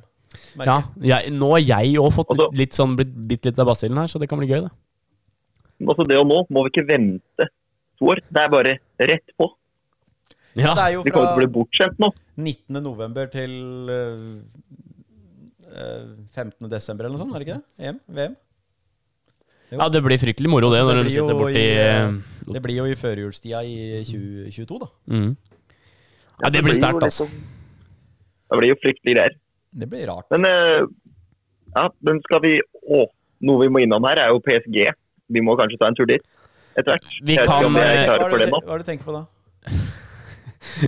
merker Ja, jeg. jeg, nå har jeg òg fått Og da- litt, litt sånn, blitt bitt litt av basillen her, så det kan bli gøy, det. Men altså, det og nå må vi ikke vente to år. Det er bare rett på. Ja. Det er jo Vi fra kommer til å bli bortskjemt nå. 19. november til øh, øh, 15. desember eller noe sånt, er det ikke det? EM? VM? Ja, det blir fryktelig moro det, Så når Altså, det de blir sitter jo borti eh, i, eh, Det blir jo i førjulstida i 2022, da. mm. Ja, det blir jo sterkt, litt altså. sånn- Det blir jo fryktelig greier. Det blir rart. Men eh, ja, den skal vi Å, noe vi må innom her, er jo PSG. Vi må kanskje ta en tur dit etter hvert. Vi Jeg vet ikke kan, om jeg er eh, klare for det nå. hva er det du tenker på da?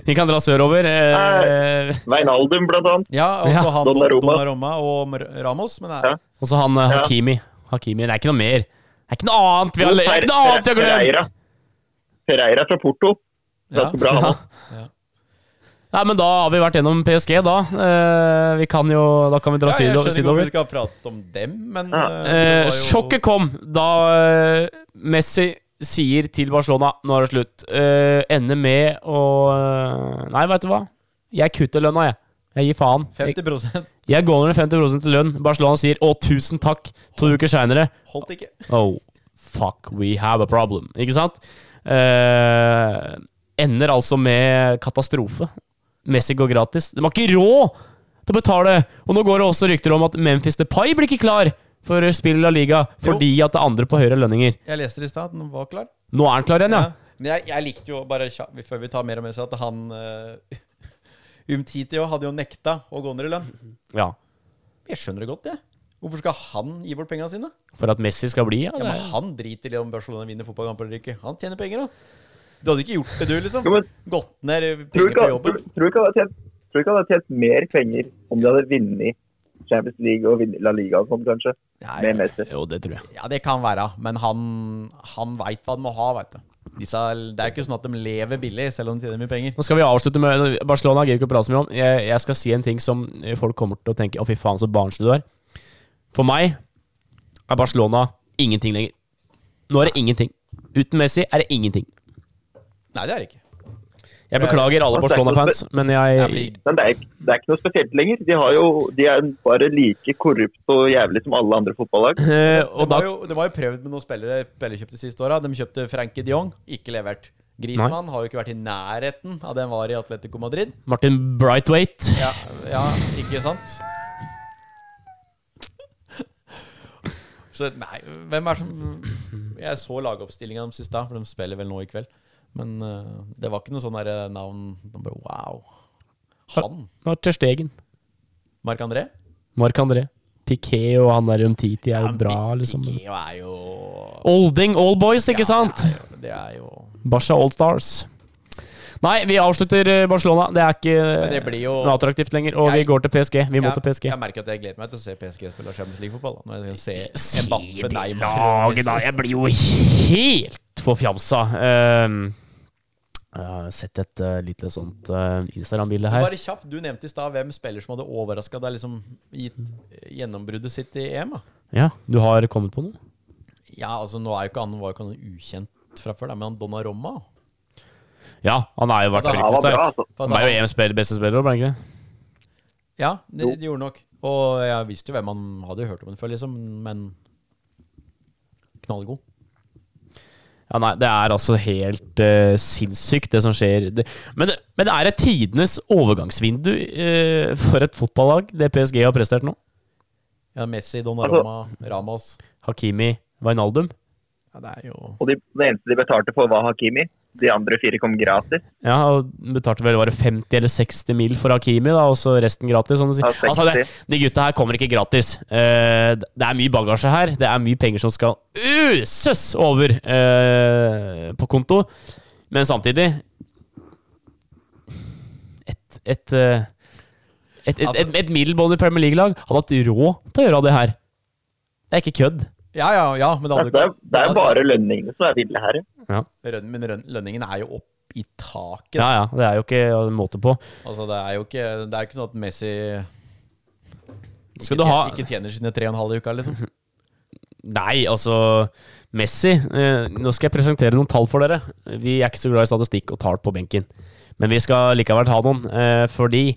Vi kan dra sørover. Eh, Veinaldum, blant annet. Ja, og så Ja. han Donnarumma. Donnarumma og Mar- Ramos. Men det Ja. er, og så han eh, Ja. Hakimi. Hakimi. Det er ikke noe mer. Det er ikke noe annet vi har, det er ikke noe annet vi har Pereira. glemt! Pereira fra Porto. Det Ja. er så bra, han Ja. også. Nei, men da har vi vært gjennom PSG, da. Eh, vi kan jo, da kan vi dra ja, jeg sydover. skjønner ikke om vi sydover. skal prate om dem, men Ja. eh, det Eh, var jo- sjokket kom da eh, Messi sier til Barcelona nå er det slutt. Eh, ender med å eh, Nei, vet du hva? Jeg kutter lønna, jeg. Jeg gir faen. Jeg- 50 Jeg går ned 50 til lønn. Barcelona sier 'Å, tusen takk' to uker seinere. holdt ikke. Oh, fuck, we have a problem. Ikke sant? Eh, ender altså med katastrofe. Messi går gratis. De har ikke råd til å betale! Og nå går det også rykter om at Memphis Depay blir ikke klar for spill av liga fordi at det er andre på høyere lønninger. Jeg leste det i stad, at den var klar. Nå er han klar igjen, ja. Ja. Men jeg, jeg likte jo bare kja- Før vi tar mer og mer, så at han eh, Umtiti også hadde jo nekta å gå ned i lønn. ja. Jeg skjønner det godt, jeg. Hvorfor skal han gi bort penga sine? For at Messi skal bli, ja. Ja, Det men er. Han driter i om Barcelona vinner fotballkamp eller ikke. Han tjener penger, han. Du hadde ikke gjort det, du, liksom. Jo, men Gått ned Tror du penger på ikke tror- jobben. tror du ikke han hadde tjent- tror du ikke han hadde tjent mer penger om de hadde vunnet Champions League og vunnet La Liga og sånn, kanskje? Nei, Med Messi. Jo, det tror jeg. Ja, det kan være, men han, han veit hva han må ha, veit du. Disse, det er ikke sånn at de lever billig, selv om de tjener mye penger. Nå skal vi avslutte med Barcelona. gidder vi ikke å prate så mye om. Jeg, jeg skal si en ting som folk kommer til å tenke Å, fy faen, så barnslig du er. For meg er Barcelona ingenting lenger. Nå er det ingenting. Uten Messi er det ingenting. Nei, det er det ikke. Jeg beklager alle Barcelona-fans, men Ja, jeg fordi- Men det er, ikke- det er ikke noe spesielt lenger. De, har jo, de er bare like korrupt og jævlig som alle andre fotballag. Eh, de, Og da har jo, de har jo prøvd med noen spillere spillere kjøpte siste åra. De kjøpte Frankie de Jong, ikke levert. Griezmann har jo ikke vært i nærheten av det han var i Atletico Madrid. Martin Brightwaite Ja, ja ikke sant? Så nei, hvem er som Jeg så lagoppstillinga deres i stad, for de spiller vel nå i kveld. Men eh, det var ikke noe sånn derre navn de bare, Wow. Han? Nå er Ter Stegen. Marc André? Marc André. Piqué og han der Umtiti er jo Han bra, Pi- liksom. Piqué er jo Olding, all boys, ikke sant? Ja, det er jo- Det er jo Barca All Stars. Nei, vi avslutter eh, Barcelona. Det er Men det ikke blir jo noe attraktivt lenger. Og vi Jeg- går til PSG. Vi må til jeg, PSG. jeg merker at jeg gleder meg til å se PSG spille Champions League-fotball. da. Når jeg kan se Se Mbappe, det Neymar laget, da! Jeg blir jo helt forfjamsa. Ehm, jeg har sett et eh, lite sånt eh, Instagram-bilde her. Bare kjapt, Du nevnte i stad hvem spiller som hadde overraska deg, liksom gitt eh, gjennombruddet sitt i EM. da Ja, Du har kommet på noe? Ja, altså nå er jo ikke han var jo ikke han ukjent fra før, da, men han Donnarumma Ja, han har jo vært Ja, Han fryktelig var bra, sterk. altså. for at Han er jo han- EMs spiller- beste spiller, ble han ikke det? Ja, det, det gjorde nok. Og jeg visste jo hvem han hadde hørt om den før, liksom, men knallgod. Ja, nei, det er altså helt eh, sinnssykt, det som skjer. Det, men, det- men det er et tidenes overgangsvindu eh, for et fotballag, det PSG har prestert nå. Ja, Messi, Donnarumma, Ramas. Hakimi, Wijnaldum. Ja, det er jo Og de, det eneste de betalte for, var Hakimi. De andre fire kom gratis. Ja, og betalte vel bare 50 eller 60 mil for Hakimi, da, og så resten gratis. Som du sier. Ja, 60. Altså, det, de gutta her kommer ikke gratis. Eh, det er mye bagasje her. Det er mye penger som skal uses over eh, på konto. Men samtidig Et, et, eh, et, Altså- et, et, et middelmådig Premier League-lag hadde hatt råd til å gjøre det her. Det er ikke kødd. Ja, ja, ja, men det hadde Altså, Det er, det er jo bare lønningene som er ville her. Rønn- Men rønn- lønningen er jo opp i taket. Ja, ja, det er jo ikke måte på. Altså, det er jo ikke, det er jo ikke sånn at Messi Skal du ha ikke tjener sine tre og en halv i uka, liksom. Nei, altså Messi eh, Nå skal jeg presentere noen tall for dere. Vi er ikke så glad i statistikk og tall på benken. Men vi skal likevel ha noen, eh, fordi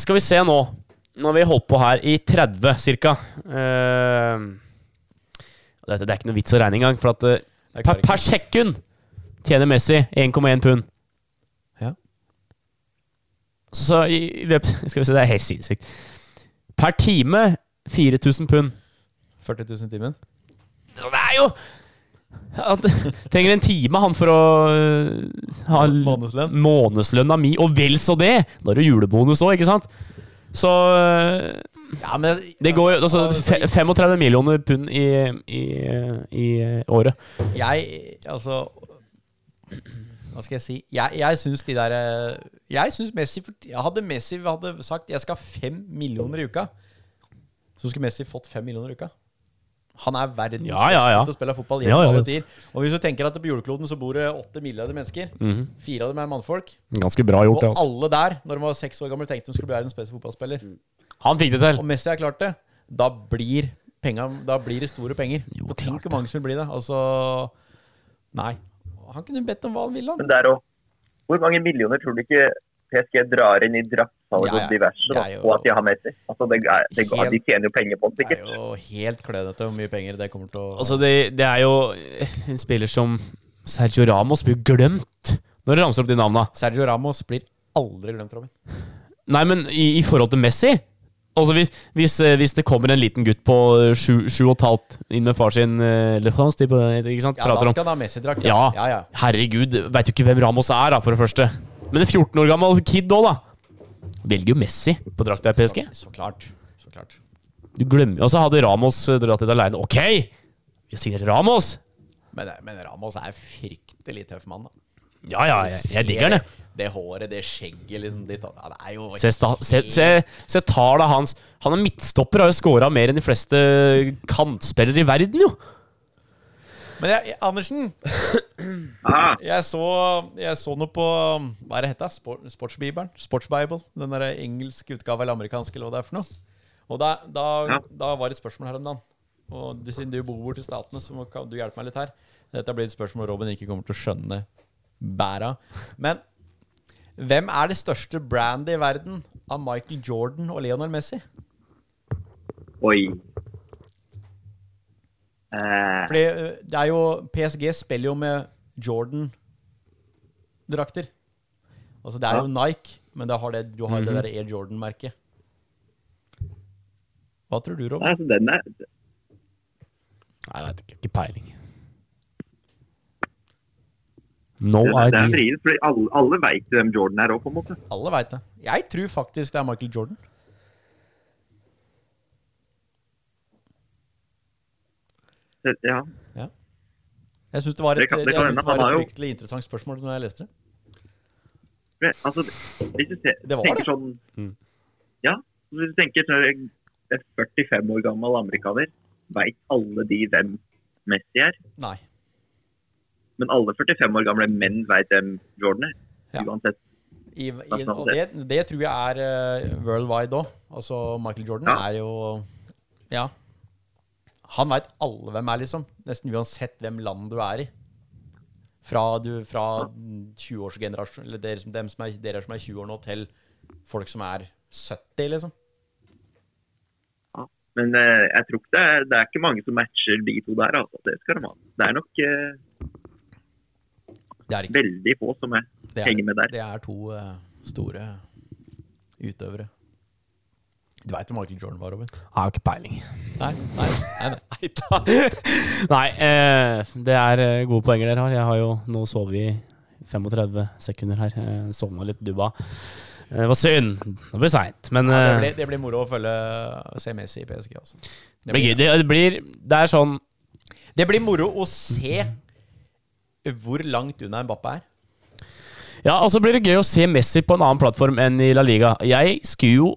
Skal vi se nå. Nå har vi holdt på her i 30 ca. Eh, dette, det er ikke noe vits å regne engang, for at eh, Jeg per, klarer ikke. per sekund tjener Messi 1,1 pund. Ja. Så i i løpet Skal vi se, det er helt sinnssykt. Per time 4000 pund. 40 000 i timen. Så Det er jo Han trenger en time, han, for å øh, ha l- Månedslønn. Månedslønna mi, og vel så det! Da er det julebonus òg, ikke sant? Så øh, Ja, men det går jo altså, Altså, fe- 35 millioner pund i, i, i året. Jeg Altså Hva skal jeg si? Jeg, jeg syns de der eh, Jeg syns Messi fort- ja, Hadde Messi hadde sagt 'jeg skal ha fem millioner i uka', så skulle Messi fått fem millioner i uka. Han er verdens Ja, ja, ja. beste til å spille fotball. Ja, gjennom ja, ja. alle tider. Og hvis du tenker at på jordkloden så bor det åtte milliarder mennesker. Mhm. Fire av dem er mannfolk. Ganske bra gjort, Og det. altså. alle der, når de var seks år gamle, tenkte de skulle bli verdens beste fotballspiller. Mm. Han fikk det til. Og Messi har klart det. Da blir, penga, da blir det store penger. Jo, Og klart tenk hvor mange som vil bli det. Altså Nei. Han kunne bedt om hva han ville. han. Men det er jo Hvor mange millioner tror du ikke PSG drar inn i drattsalg Ja, ja. og diverse, da, Det er jo- og at de har Messi? Altså, det, er, det, Helt- de tjener jo penger på det, Det sikkert. er jo helt klønete hvor mye penger det kommer til å Altså, det, det er jo en spiller som Sergio Ramos blir glemt når du ramser opp de navna. Sergio Ramos blir aldri glemt, Robin. Nei, men i, i forhold til Messi Altså hvis, hvis, eh, hvis det kommer en liten gutt på eh, sju sju og et halvt inn med far sin eh, Le France, typ, eh, ikke sant? Ja, Prater da om skal han ha Messi-drakt. Ja, ja, ja. herregud, veit jo ikke hvem Ramos er, da, for det første. Men en 14 år gammel kid òg, da. Velger jo Messi på drakta i PSG. Så, så klart. Så klart. Du glemmer Og så hadde Ramos eh, dratt dit aleine. Ok! Vi har signert Ramos! Men, men Ramos er fryktelig tøff mann. Da. Ja, ja, jeg, jeg digger han, jeg. Det, det håret, det skjegget liksom ditt, ja, Det er jo Se, sta, se, se, se tala hans. Han er midtstopper, har jo scora mer enn de fleste kantspillere i verden, jo. Men jeg, jeg- Andersen, Ah, Jeg så, jeg så noe på Hva er det hette? Sport, Sportsbibelen? Sportsbible? Den der engelske utgave eller amerikanske, eller hva det er for noe. Og da, da, Ja. da var det et spørsmål her om dagen. Og du, siden du bor bort i Statene, så må, kan du hjelpe meg litt her. Dette blir et spørsmål Robin ikke kommer til å skjønne bæra. Men hvem er det største brandet i verden av Michael Jordan og Leonel Messi? oi. Eh, Fordi øh, det er jo PSG spiller jo med Jordan-drakter. Altså det er jo Nike, men da har det, du har Mhm. det der Air Jordan-merket. Hva tror du, Rob? nei, så altså, den er Nei, jeg vet ikke. Ikke peiling. No Den er, den er idea. vrien, fordi alle, alle veit hvem Jordan er òg, på en måte. Alle veit det. Jeg tror faktisk det er Michael Jordan. Så, Ja. Jeg syns det var et, Det kan- det jeg kan synes det hende. var Han et er jo- fryktelig interessant spørsmål når jeg leste det. Men, altså, hvis du ser, Det var tenker det. Mm. sånn Ja, hvis du tenker sånn En 45 år gammel amerikaner, veit alle de hvem Messi er? Nei. Men alle 45 år gamle menn veit hvem Jordan er. Ja. Uansett. I, i, og det, det tror jeg er eh, worldwide òg. Altså, Michael Jordan Ja. er jo Ja. Han veit alle hvem er, liksom. Nesten uansett hvem land du er i. Fra, du, fra 20-årsgenerasjon, eller dere som, dem som er, dere som er 20 år nå, til folk som er 70, liksom. Men eh, jeg tror ikke det er, det er ikke mange som matcher de to der. altså. Det skal de ha. Det er nok eh, Det er, ikke, veldig få som er, det henger med er, der. det er to eh, store utøvere. Du veit hvem Michael Jordan var, Robin? Jeg har ikke peiling. Nei, nei, nei, nei. Nei da. Nei, eh, det er eh, gode poenger dere har. Jeg har jo nå sovet i 35 sekunder her. Eh, Sovna litt dubba. Eh, Det var synd. Det blir seint. Men Ja, eh, det, blir, det blir moro å følge se Messi i PSG. Altså. det blir gøy. Det, det blir Det er sånn det blir moro å se hvor langt unna Mbappé er. Ja, og så blir det gøy å se Messi på en annen plattform enn i La Liga. Jeg skulle jo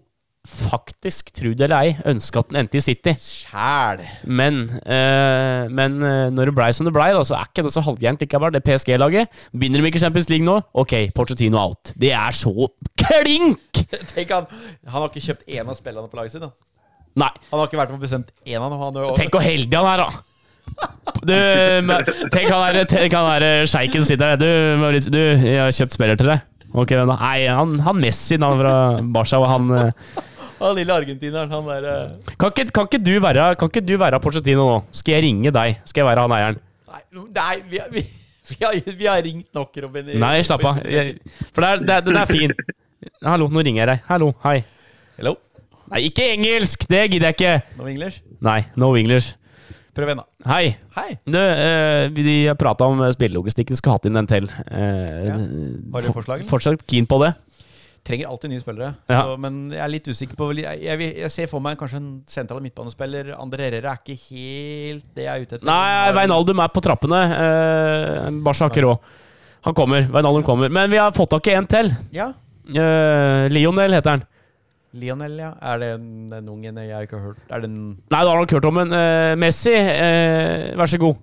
faktisk, tro det eller ei, ønske at den endte i City. Sjæl! Men, eh, men eh, når det blei som det blei, da, så er ikke det så halvgærent likevel. Det PSG-laget. Vinner de ikke Champions League nå? Ok, Porcetino out. Det er så klink! Tenk han, han har ikke kjøpt én av spillerne på laget sitt. da. Nei. Han har ikke vært med og bestemt én av dem. Han har jo- Tenk hvor heldig han er, da! Du, men- tenk han der, tenk han der eh, sjeiken som sitter der. Du, Maurits, du, jeg har kjøpt spiller til deg. Ok, hvem da? Nei, han, han Messi, han fra Barca, og han eh, Han lille argentineren, han der eh, Kan ikke, kan ikke du være, kan ikke du være Porcetino nå? Skal jeg ringe deg? Skal jeg være han eieren? Nei, nei vi, har- vi, vi, har, vi har ringt nok, Robin. i- Nei, slapp av. Jeg- For det er, det, er, det er fint. Hallo, nå ringer jeg deg. Hallo, hei. Hello? Nei, ikke engelsk! Det gidder jeg ikke. No English? Nei, no English. Prøv igjen, da. Hei. Hei! Du, eh, vi prata om eh, spillelogistikken, skulle hatt inn en til. Eh, Ja. Har du forslag? eller? Fortsatt keen på det. Trenger alltid nye spillere. Ja. Så, men jeg er litt usikker på Jeg, jeg, vil- jeg ser for meg kanskje en sentral midtbanespiller. Andre Herrera er ikke helt det jeg er ute etter. Nei, Veinaldum er på trappene. Eh, Barca har ikke råd. Han kommer. Veinaldum kommer. Men vi har fått tak i en til. Ja. Eh, Lionel heter han. Lionel, ja. Er det en, en ungen jeg har ikke har hørt Er det en Nei, du har nok hørt om den. Eh, Messi, eh, vær så god.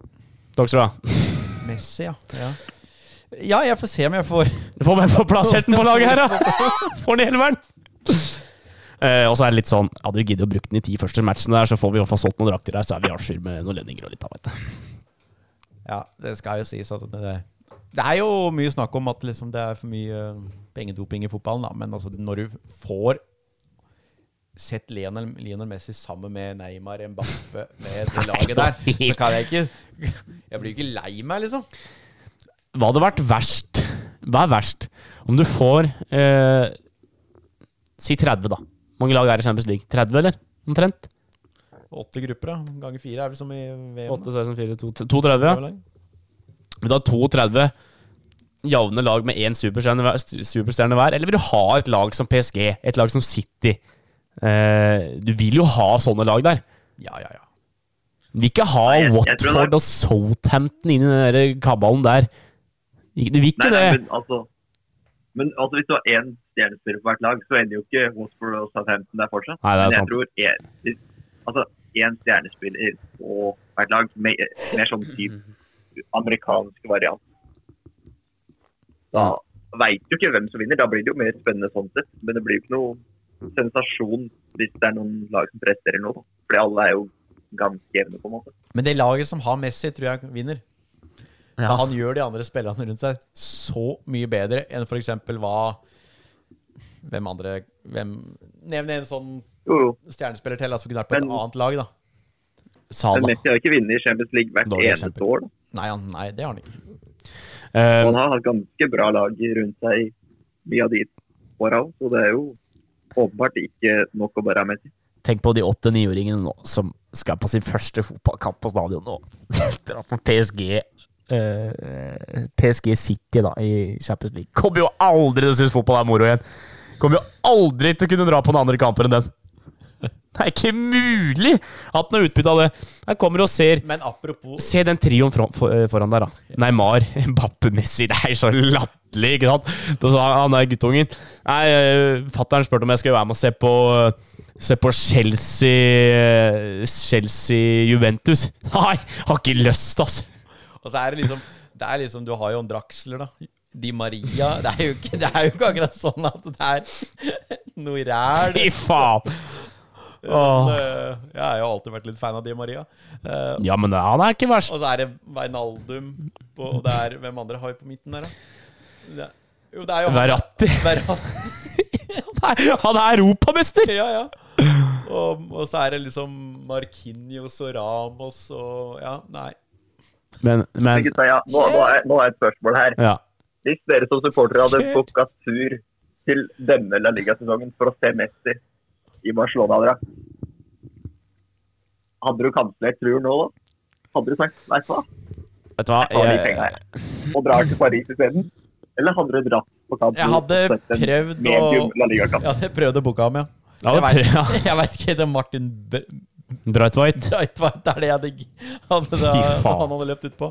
Takk skal du ha. Messi, ja. ja? Ja, jeg får se om jeg får Du får bare få plassert den på laget her, da! Får den i elveren! Eh, og så er det litt sånn Hadde du giddet å bruke den i ti første matchene, der, så får vi i hvert fall solgt noen drakter der, så er vi avskyr med noen lønninger og litt av, vet du. Ja, det skal jo sies at det, det er jo mye snakk om at liksom det er for mye eh, pengedoping i fotballen, da. Men altså, når du får sett Lionel, Lionel Messi sammen med Neymar Mbappe med det laget der, så kan jeg ikke Jeg blir jo ikke lei meg, liksom. Hva hadde vært verst? Hva er verst? Om du får eh, Si 30, da. Mange lag er i Champions League. 30, eller? Omtrent? Åtte grupper, da. Ganger fire er vel som i VM. 8, 16, 4, 2, 32, ja. Vil du ha 32 jevne lag med én superstjerne hver, superstjerne hver, eller vil du ha et lag som PSG, et lag som City? Eh, du vil jo ha sånne lag der. Ja, ja, ja. Du vil ikke ha jeg- jeg tror Watford det- og Southampton inn i den der kabalen der. Ikke- Du vil ikke Nei, nei, det. men altså, men altså hvis du har én stjernespiller for hvert lag, så ender jo ikke Watford og Southampton der fortsatt. Nei, det er men jeg sant. tror en, hvis- altså, én stjernespiller på hvert lag, med, med sånn type amerikansk variant. Da veit du ikke hvem som vinner. Da blir det jo mer spennende sånn sett. Men det blir jo ikke noe sensasjon hvis det er noen lag som presterer nå, da. Fordi alle er jo ganske jevne, på en måte. Men det laget som har Messi, tror jeg vinner. For Han gjør de andre spillerne rundt seg så mye bedre enn f.eks. hva Hvem andre hvem, Nevn en sånn Jo, jo. stjernespiller til da, som kunne vært på et Men- annet lag, da. Sala. Men Messi har jo ikke vunnet Champions League hvert Dårlig eneste eksempel. år. Da. Nei, han, nei, det har han ikke. Eh, Og han har hatt ganske bra lag rundt seg i mye av de åra òg, så det er jo åpenbart ikke nok å bare ha med seg. Tenk på de åtte-niåringene nå som skal på sin første fotballkamp på stadion nå. Etter at PSG eh, PSG City da i Champions League kommer jo aldri til å synes fotball er moro igjen. Kommer jo aldri til å kunne dra på noen andre kamper enn den. Det er ikke mulig at noe utbytte av det. Jeg kommer og ser Men apropos Se den trioen fra- for- eh, foran der, da. Neymar, Mbappe, Messi. Det er så latterlig, ikke sant? Da sa han der guttungen Nei, eh, fatter'n spurte om jeg skulle være med og se på Se på Chelsea eh, Chelsea Juventus. Nei, har ikke lyst, altså. Og så er det liksom Det er liksom Du har jo en Draxler, da. Di Maria Det er jo ikke, det er jo ikke akkurat sånn at det er noe ræl. Fy faen! Åh. Eh, Jeg har jo alltid vært litt fan av Di Maria. Eh, Ja, men han er ikke verst. Og så er det Veinaldum på, Og det er Hvem andre har vi på midten der, da? Det er, jo, det er jo Verratti. Verratti. Nei, Han er europamester! Ja, ja. Og, og så er det liksom Markinios og Ramos og Ja, nei. Men, Men men gutta, ja, nå, nå, er, nå er et spørsmål her. ja. Hvis dere som supportere hadde Shit. booka tur til denne La Liga-sesongen for å se Messi i Barcelona-drakt, hadde du kansellert turen nå, da? Hadde du sagt nei, hva? Vet du hva? Ta de Jeg- penga her. Og drar til Paris isteden? Eller hadde du dratt på kamp? Jeg hadde prøvd med en å gul La Liga-kamp? Ja, det prøvde å booke ham, ja. Ja, Jeg det vet- prøv- jeg vet ikke. Det er Martin Br- Bright White. Breitweit det er det jeg digger. Han, det, Fy faen. han hadde løpt utpå.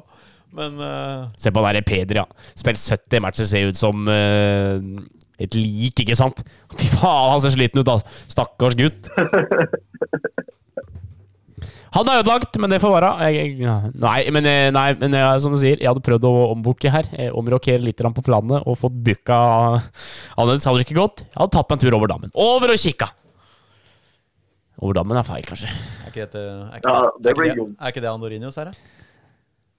Men eh, Se på han der Peder, ja. Spilt 70 matcher, ser ut som eh, et lik, ikke sant? Fy faen, han ser sliten ut, altså. Stakkars gutt. Han er ødelagt, men det får være. Jeg, jeg, nei, men, eh, nei, men jeg, som du sier, jeg hadde prøvd å ombooke her. eh, Omrokere litt grann på planene og fått booka annerledes. Hadde det ikke gått? Jeg hadde tatt meg en tur over dammen. Over og kikka! Over dammen er feil, kanskje. er ikke dette Er ikke, Ja, det er blir ikke, det, dumt. er ikke det Andorinios her, da?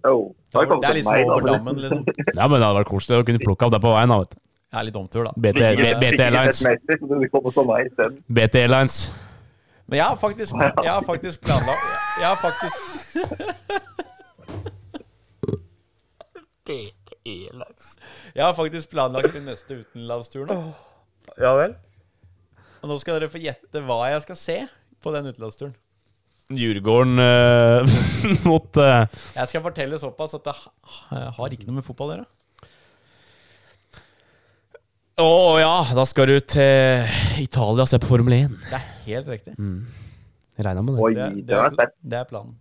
Jo, da har jeg kommet Det er til liksom meg, da, over men- dammen, liksom. Det Ja, men det hadde vært koselig å kunne plukke opp det på veien. da, vet du. er litt omtur, da. BT, Ikke- B- BT ikke Airlines. sett Messi, så du kommer til meg isteden. BT Airlines. Men jeg har faktisk, jeg har faktisk planla Jeg har faktisk Jeg har faktisk planlagt min neste utenlandstur nå. Ja vel? Og nå skal dere få gjette hva jeg skal se på den utenlandsturen. Djurgården eh, mot eh, Jeg skal fortelle såpass at det ha- har ikke noe med fotball å gjøre. Å ja, da skal du til Italia og se på Formel 1. Det er helt riktig. Regna med det. Oi, Det, det, det, var er, sterkt. det er planen.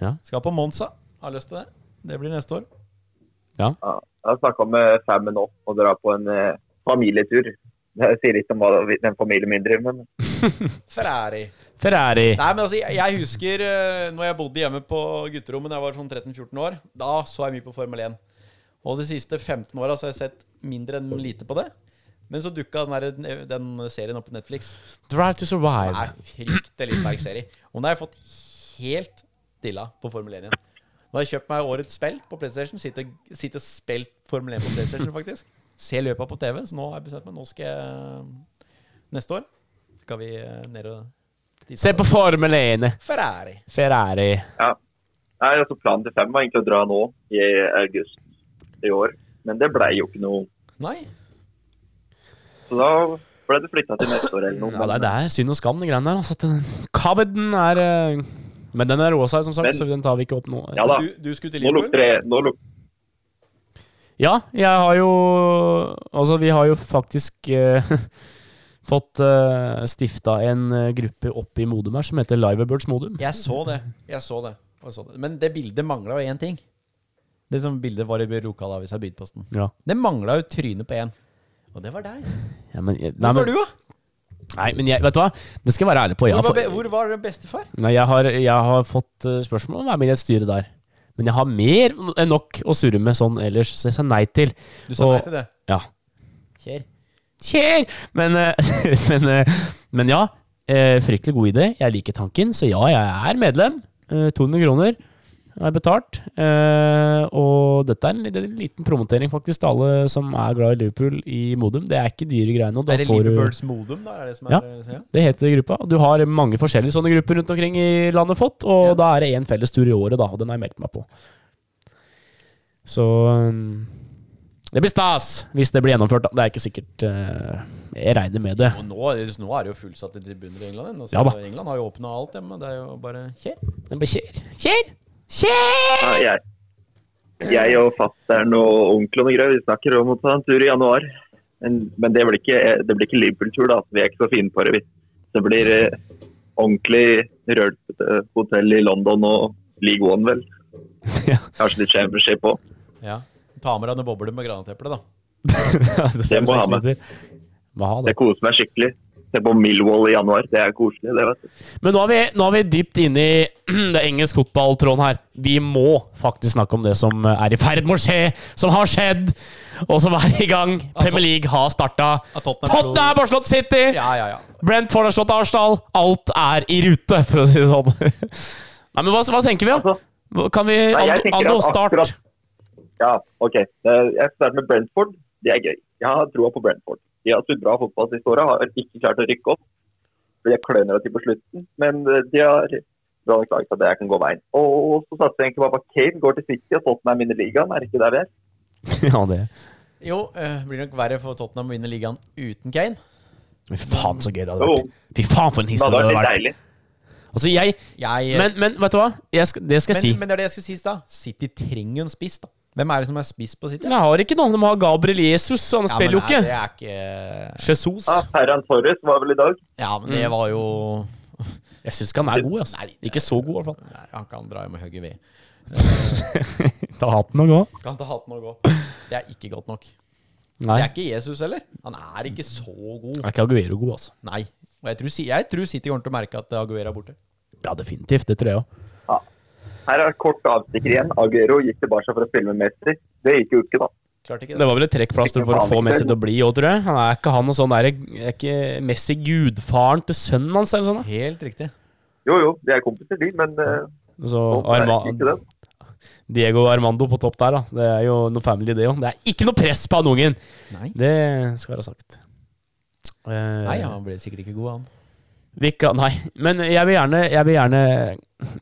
Ja. Skal på Monza. Har lyst til det. Det blir neste år. Ja, jeg har snakka med Fammen nå og dra på en eh, familietur. Jeg sier ikke om hva den familien min driver med, men Ferrari. Ferrari. Nei, men altså, jeg, jeg husker eh, når jeg bodde hjemme på gutterommet da jeg var sånn 13-14 år. Da så jeg mye på Formel 1. Og de siste 15 åra har jeg sett mindre enn lite på det. Men så dukka den, der- den serien opp på Netflix. Drive to Det survive. er fryktelig sterk serie. Og nå har jeg fått helt dilla på Formel 1 igjen. Nå har jeg kjøpt meg årets spill på PlayStation. Sitter, sitter spilt Formel 1 på PlayStation, faktisk. Ser løpa på TV, så nå har jeg bestemt meg. Nå skal jeg eh, Neste år skal vi eh, ned og dit. Se på Formel 1. Ferrari. Ferrari. ja. Nei, altså Planen til Fem var egentlig å dra nå i august i år, men det blei jo ikke noe. Nei. Så da ble det flytta til neste år eller noe. Ja, det, er, men- det er synd og skam, de greiene der. Altså, at den- Kabeden er eh, Men den er rå seg, som sagt, Men- så den tar vi ikke opp nå. Ja da. Du, du skulle til Nå lukter Liverpool? det nå luk Ja, jeg har jo Altså, vi har jo faktisk eh, fått uh, stifta en eh, gruppe oppe i Modum her som heter Liverbirds Modum. Jeg så det. Jeg så det. Jeg så det. Men det bildet mangla jo én ting. Det som bildet var i lokalavisa Bydposten. Ja. Det mangla jo trynet på én. Og det var deg. ja men, jeg- nei, Hvor var men, du, da? nei, men jeg, vet du hva? Det skal jeg være ærlig på. Jeg Hvor har, var, be- fått- hvor var bestefar? nei, jeg har, jeg har fått eh, spørsmål om å være med i det styret der. Men jeg har mer enn nok å surre med sånn ellers, så jeg sa nei til. Du sa Og- nei til det? Ja. Kjær. Kjær! Men, eh, men, eh, men ja, eh, fryktelig god idé. Jeg liker tanken, så ja, jeg er medlem. Eh, 200 kroner er betalt. Eh, Og dette er en li- en liten promotering faktisk til alle som er glad i Liverpool i Modum. Det er ikke dyre greier nå. Da Er det får du- Liverpools Modum, da? Er det som er, Ja. ja. Det heter gruppa. Du har mange forskjellige sånne grupper rundt omkring i landet fått, og Ja. da er det én felles tur i året, da, og den har jeg meldt meg på. Så um, det blir stas hvis det blir gjennomført, da. Det er ikke sikkert eh, Jeg regner med det. Og nå, nå er det jo fullsatte tribuner i England. igjen, Altså, Ja da. England har jo åpna alt hjemme. Det er jo bare kjør. Den bare kjer. Kjer! Kjer! ja, jeg, jeg og fatter'n og onkelen og greier, vi snakker om å ta en tur i januar. Men, men det blir ikke, det blir ikke Liverpool-tur, da. Vi er ikke så fine på det. vi. Det blir eh, ordentlig rølpete hotell i London og League One, vel. Ja. Kanskje litt championship òg. Ja. Ta med deg noen bobler med granateple, da. Det må ha med. Må ha det. Jeg koser meg skikkelig. Se på Millwall i januar, det er koselig. det vet du. Men nå er vi, nå er vi dypt inne i det engelsk fotballtråden her. Vi må faktisk snakke om det som er i ferd med å skje, som har skjedd, og som er i gang. Premier League har starta. Ja, Tottenham slo- Tottenham har slått City! Ja, ja, ja. Brentford har slått Arsenal. Alt er i rute, for å si det sånn. Nei, men hva, hva tenker vi, da? Altså, Hva- Kan vi Nei, Ando, jeg tenker Ando, at start. akkurat- Ja, OK. Eh, Jeg starter med Brentford. Det er gøy. Jeg har troa på Brentford. De har spilt bra fotball siste året, har ikke klart å rykke opp. ble klønete til på slutten. Men eh, de har bra nok laget at det her kan gå veien. Og så satser jeg egentlig bare på at Kane går til City og Tottenham vinner ligaen. Er det ikke der vi er? ja, det Jo, eh, blir nok verre for Tottenham å vinne ligaen uten Kane. Fy faen, så gøy det hadde vært. Fy faen, for en Det hadde historie det hadde vært litt vært. deilig. Altså, jeg Jeg, eh, Men, men vet du hva? Jeg skal, det skal jeg men, si. men det er det jeg skulle si i stad. City trenger jo en spiss, da. Hvem er det som er spiss på City? Men jeg har ikke noen. De har Gabriel Jesus, og han Ja, spiller jo men nei, ikke. Det er ikke Jesus. Ja, Ah, Ferran Torres var vel i dag. Ja, men det var jo Jeg syns ikke han er god. Altså. Mm. Ikke så god, i hvert fall. Nei, han kan dra hjem og hogge ved. Ta hatten og gå. Kan ta hatten og gå. Det er ikke godt nok. Nei. Det er ikke Jesus heller. Han er ikke så god. Er ikke Aguero god, altså? Nei. Og jeg tror, Si- jeg tror City kommer til å merke at Aguera er borte. Ja, definitivt. Det tror jeg òg. Her er kort avstikker igjen. Aguero gikk tilbake for å spille med Messi. Det gikk jo ikke, da. Klart ikke Det det. var vel et trekkplaster for å få Messi til å bli òg, tror jeg. Han er ikke han og sånn der Er ikke Messi gudfaren til sønnen hans, eller sånn? da? Helt riktig. Jo, jo, de er kompiser, de, men eh, Så folk merker ikke Arma det. Diego Armando på topp der, da. Det er jo noe family, det òg. Det er ikke noe press på han ungen! Nei. Det skal være sagt. Eh, Nei, han ble sikkert ikke god, han. Vi kan, nei, men jeg vil gjerne, jeg vil gjerne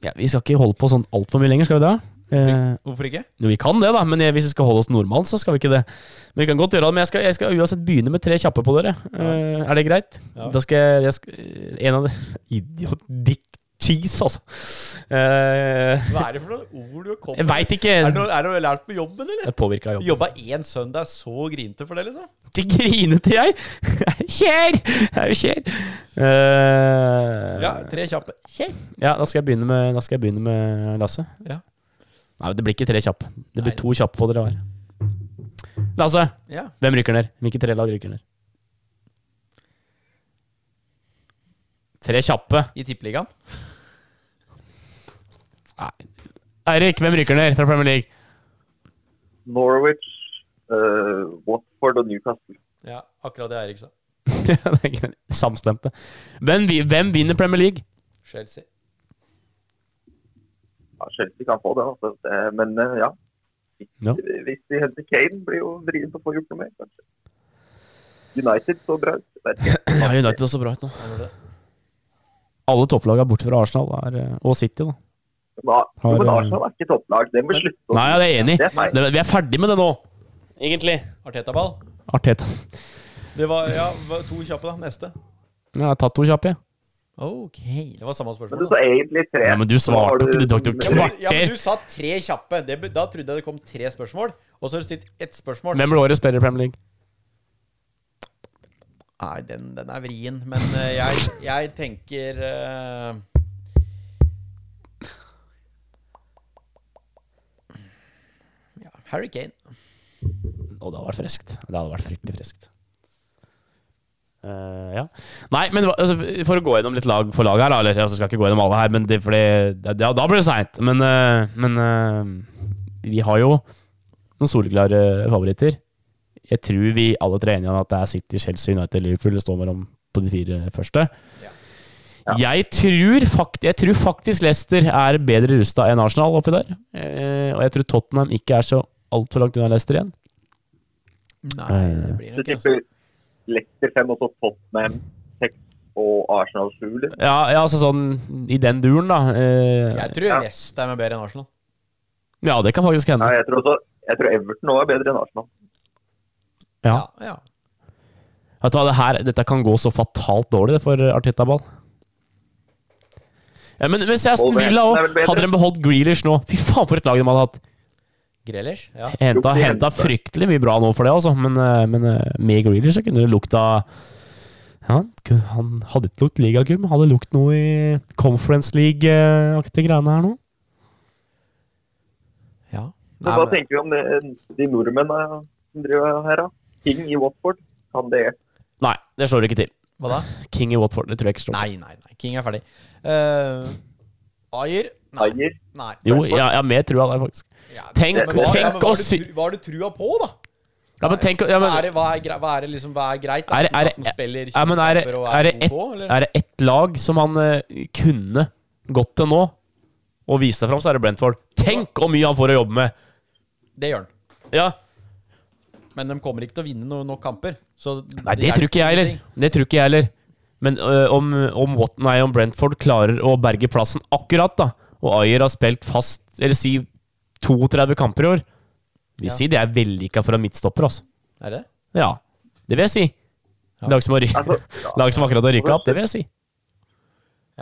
ja, Vi skal ikke holde på sånn altfor mye lenger, skal vi det? Eh, Hvorfor ikke? jo, vi kan det, da, men jeg, hvis vi skal holde oss normalt, så skal vi ikke det. Men vi kan godt gjøre det, men jeg skal, jeg skal uansett begynne med tre kjappe på dere. Eh, er det greit? Ja. Da skal jeg, jeg skal, eh, En av de Idiot dick cheese, altså. Eh, Hva er det for noen ord du har kommet jeg veit ikke. Er det noe, er det noe lært på jobben, eller? Det påvirka Du jobben. jobba én søndag, så grinte for det, liksom? Ikke grinete jeg! Kjær! Jeg er jo kjær. Eh, Ja, tre kjappe. Kjekk. Ja, da skal jeg begynne med, da skal jeg begynne med Lasse. Ja. Nei, det blir ikke tre kjappe. Det blir Nei. to kjappe på dere hver. Lasse, Ja. hvem rykker ned? Hvilke tre lag rykker ned? Tre kjappe. I tippeligaen. Nei. Eirik, hvem rykker ned fra Premier League? Norwich, eh, Watford og Newcastle. Ja, akkurat det Eirik sa. Det er greit. Samstemte. Hvem, vi- hvem vinner Premier League? Chelsea. Ja, Chelsea kan få det, altså. Det- Men eh, ja. Ja. Hvis de henter Kane, blir jo vrient å få gjort noe mer, kanskje. United så bra ut. Jeg vet ikke. Ja, United er så bra ut nå. Han gjorde det. Alle topplagene bortsett fra Arsenal er, eh, og City, da. Men, ah, jo, Har, men eh, Arsenal er ikke topplag. Den blir slutt. Nei, jeg er enig. Det er feil. Det- Vi er ferdig med det nå, egentlig. Arteta-ball. Arteta. Det var ja, hva- to kjappe, da. Neste. Jeg har tatt to kjappe, jeg. Ok. Det var samme Men du spørsmål. sa egentlig tre. Ja, men du Så har svarte ikke. Det tok jo Men- kvart. Ja, men du sa tre kjappe. Det, be- da trodde jeg det kom tre spørsmål. Og så har du stilt ett spørsmål. Hvem blir årets spiller i Premier League? Nei, den, den er vrien. Men eh, jeg, jeg tenker eh, ja, Harry Kane. Og det hadde vært friskt. Det hadde vært fryktelig friskt. Eh, ja. Nei, men hva- altså, for å gå gjennom litt lag for lag her, da. Eller altså, skal ikke gå gjennom alle her, men det, for det, det- ja, da blir det seint. Men, eh, men eh, vi har jo noen soleklare favoritter. Jeg tror vi alle tre er enige om at det er City, Chelsea, United, Liverpool det står mellom på de fire første. Jeg, tror fakt, jeg tror faktisk Leicester er bedre rusta enn Arsenal oppi der. Eh, og jeg tror Tottenham ikke er så altfor langt unna Leicester igjen. Nei, det blir Du nok ikke. altså. tipper Leicester 5 og så Tottenham 6 og Arsenal liksom. 7, eller? Ja, ja, altså sånn i den duren, da. Eh, Jeg tror Westham er bedre enn Arsenal. ja, det kan faktisk Nei, hende. jeg tror, også, jeg tror Everton òg er bedre enn Arsenal. Ja. ja. Vet du hva, det her, dette kan gå så fatalt dårlig det, for Arteta-ball. Ja, men hvis Aston Wolverhampton Villa er vel òg bedre? Hadde de beholdt Grealish nå Fy faen, for et lag de hadde hatt! Grealish? Ja. Henta, Lukter henta hente. fryktelig mye bra nå for det, altså. Men, eh, men eh, med Grealish så kunne det lukta Ja, kun- han hadde ikke lukt ligagull, men hadde lukt noe i Conference League-aktige greiene her nå. ja. Men hva tenker vi om det, de nordmennene som driver her, da? King i Watford? Kan det Nei, det slår ikke til. Hva da? King i Watford, det tror jeg ikke slår. Nei, nei, nei. King er ferdig. Uh, Ayer? Nei. Ayer? nei. Jo, jeg ja, har mer trua der, faktisk. Ja, Tenk- men hva- tenk ja, men å hva har du sy- tru- Hva har du trua på, da? Ja, men tenk, ja, men, hva, er det, hva, er, gre- hva er det liksom Hva er greit? da? Er det- er det- At den spiller ja, men er, det- kjemper og er, det ett, OK, eller? er det ett lag som han eh, kunne gått til nå og vist seg fram, så er det Brentford. Tenk hvor mye han får å jobbe med! Det gjør han. Ja. Men de kommer ikke til å vinne noen nok kamper. Så Nei, det tror ikke jeg heller. Det tror ikke jeg heller. Men øh, om, om Watton nei, om Brentford klarer å berge plassen akkurat, da, og Ayer har spilt fast, eller si 32 kamper i år Vi Ja. sier det er vellykka for en midtstopper, altså. Er det? Ja, det vil jeg si. Lag som, har ry Altså, lag som akkurat har rykka opp, det vil jeg si.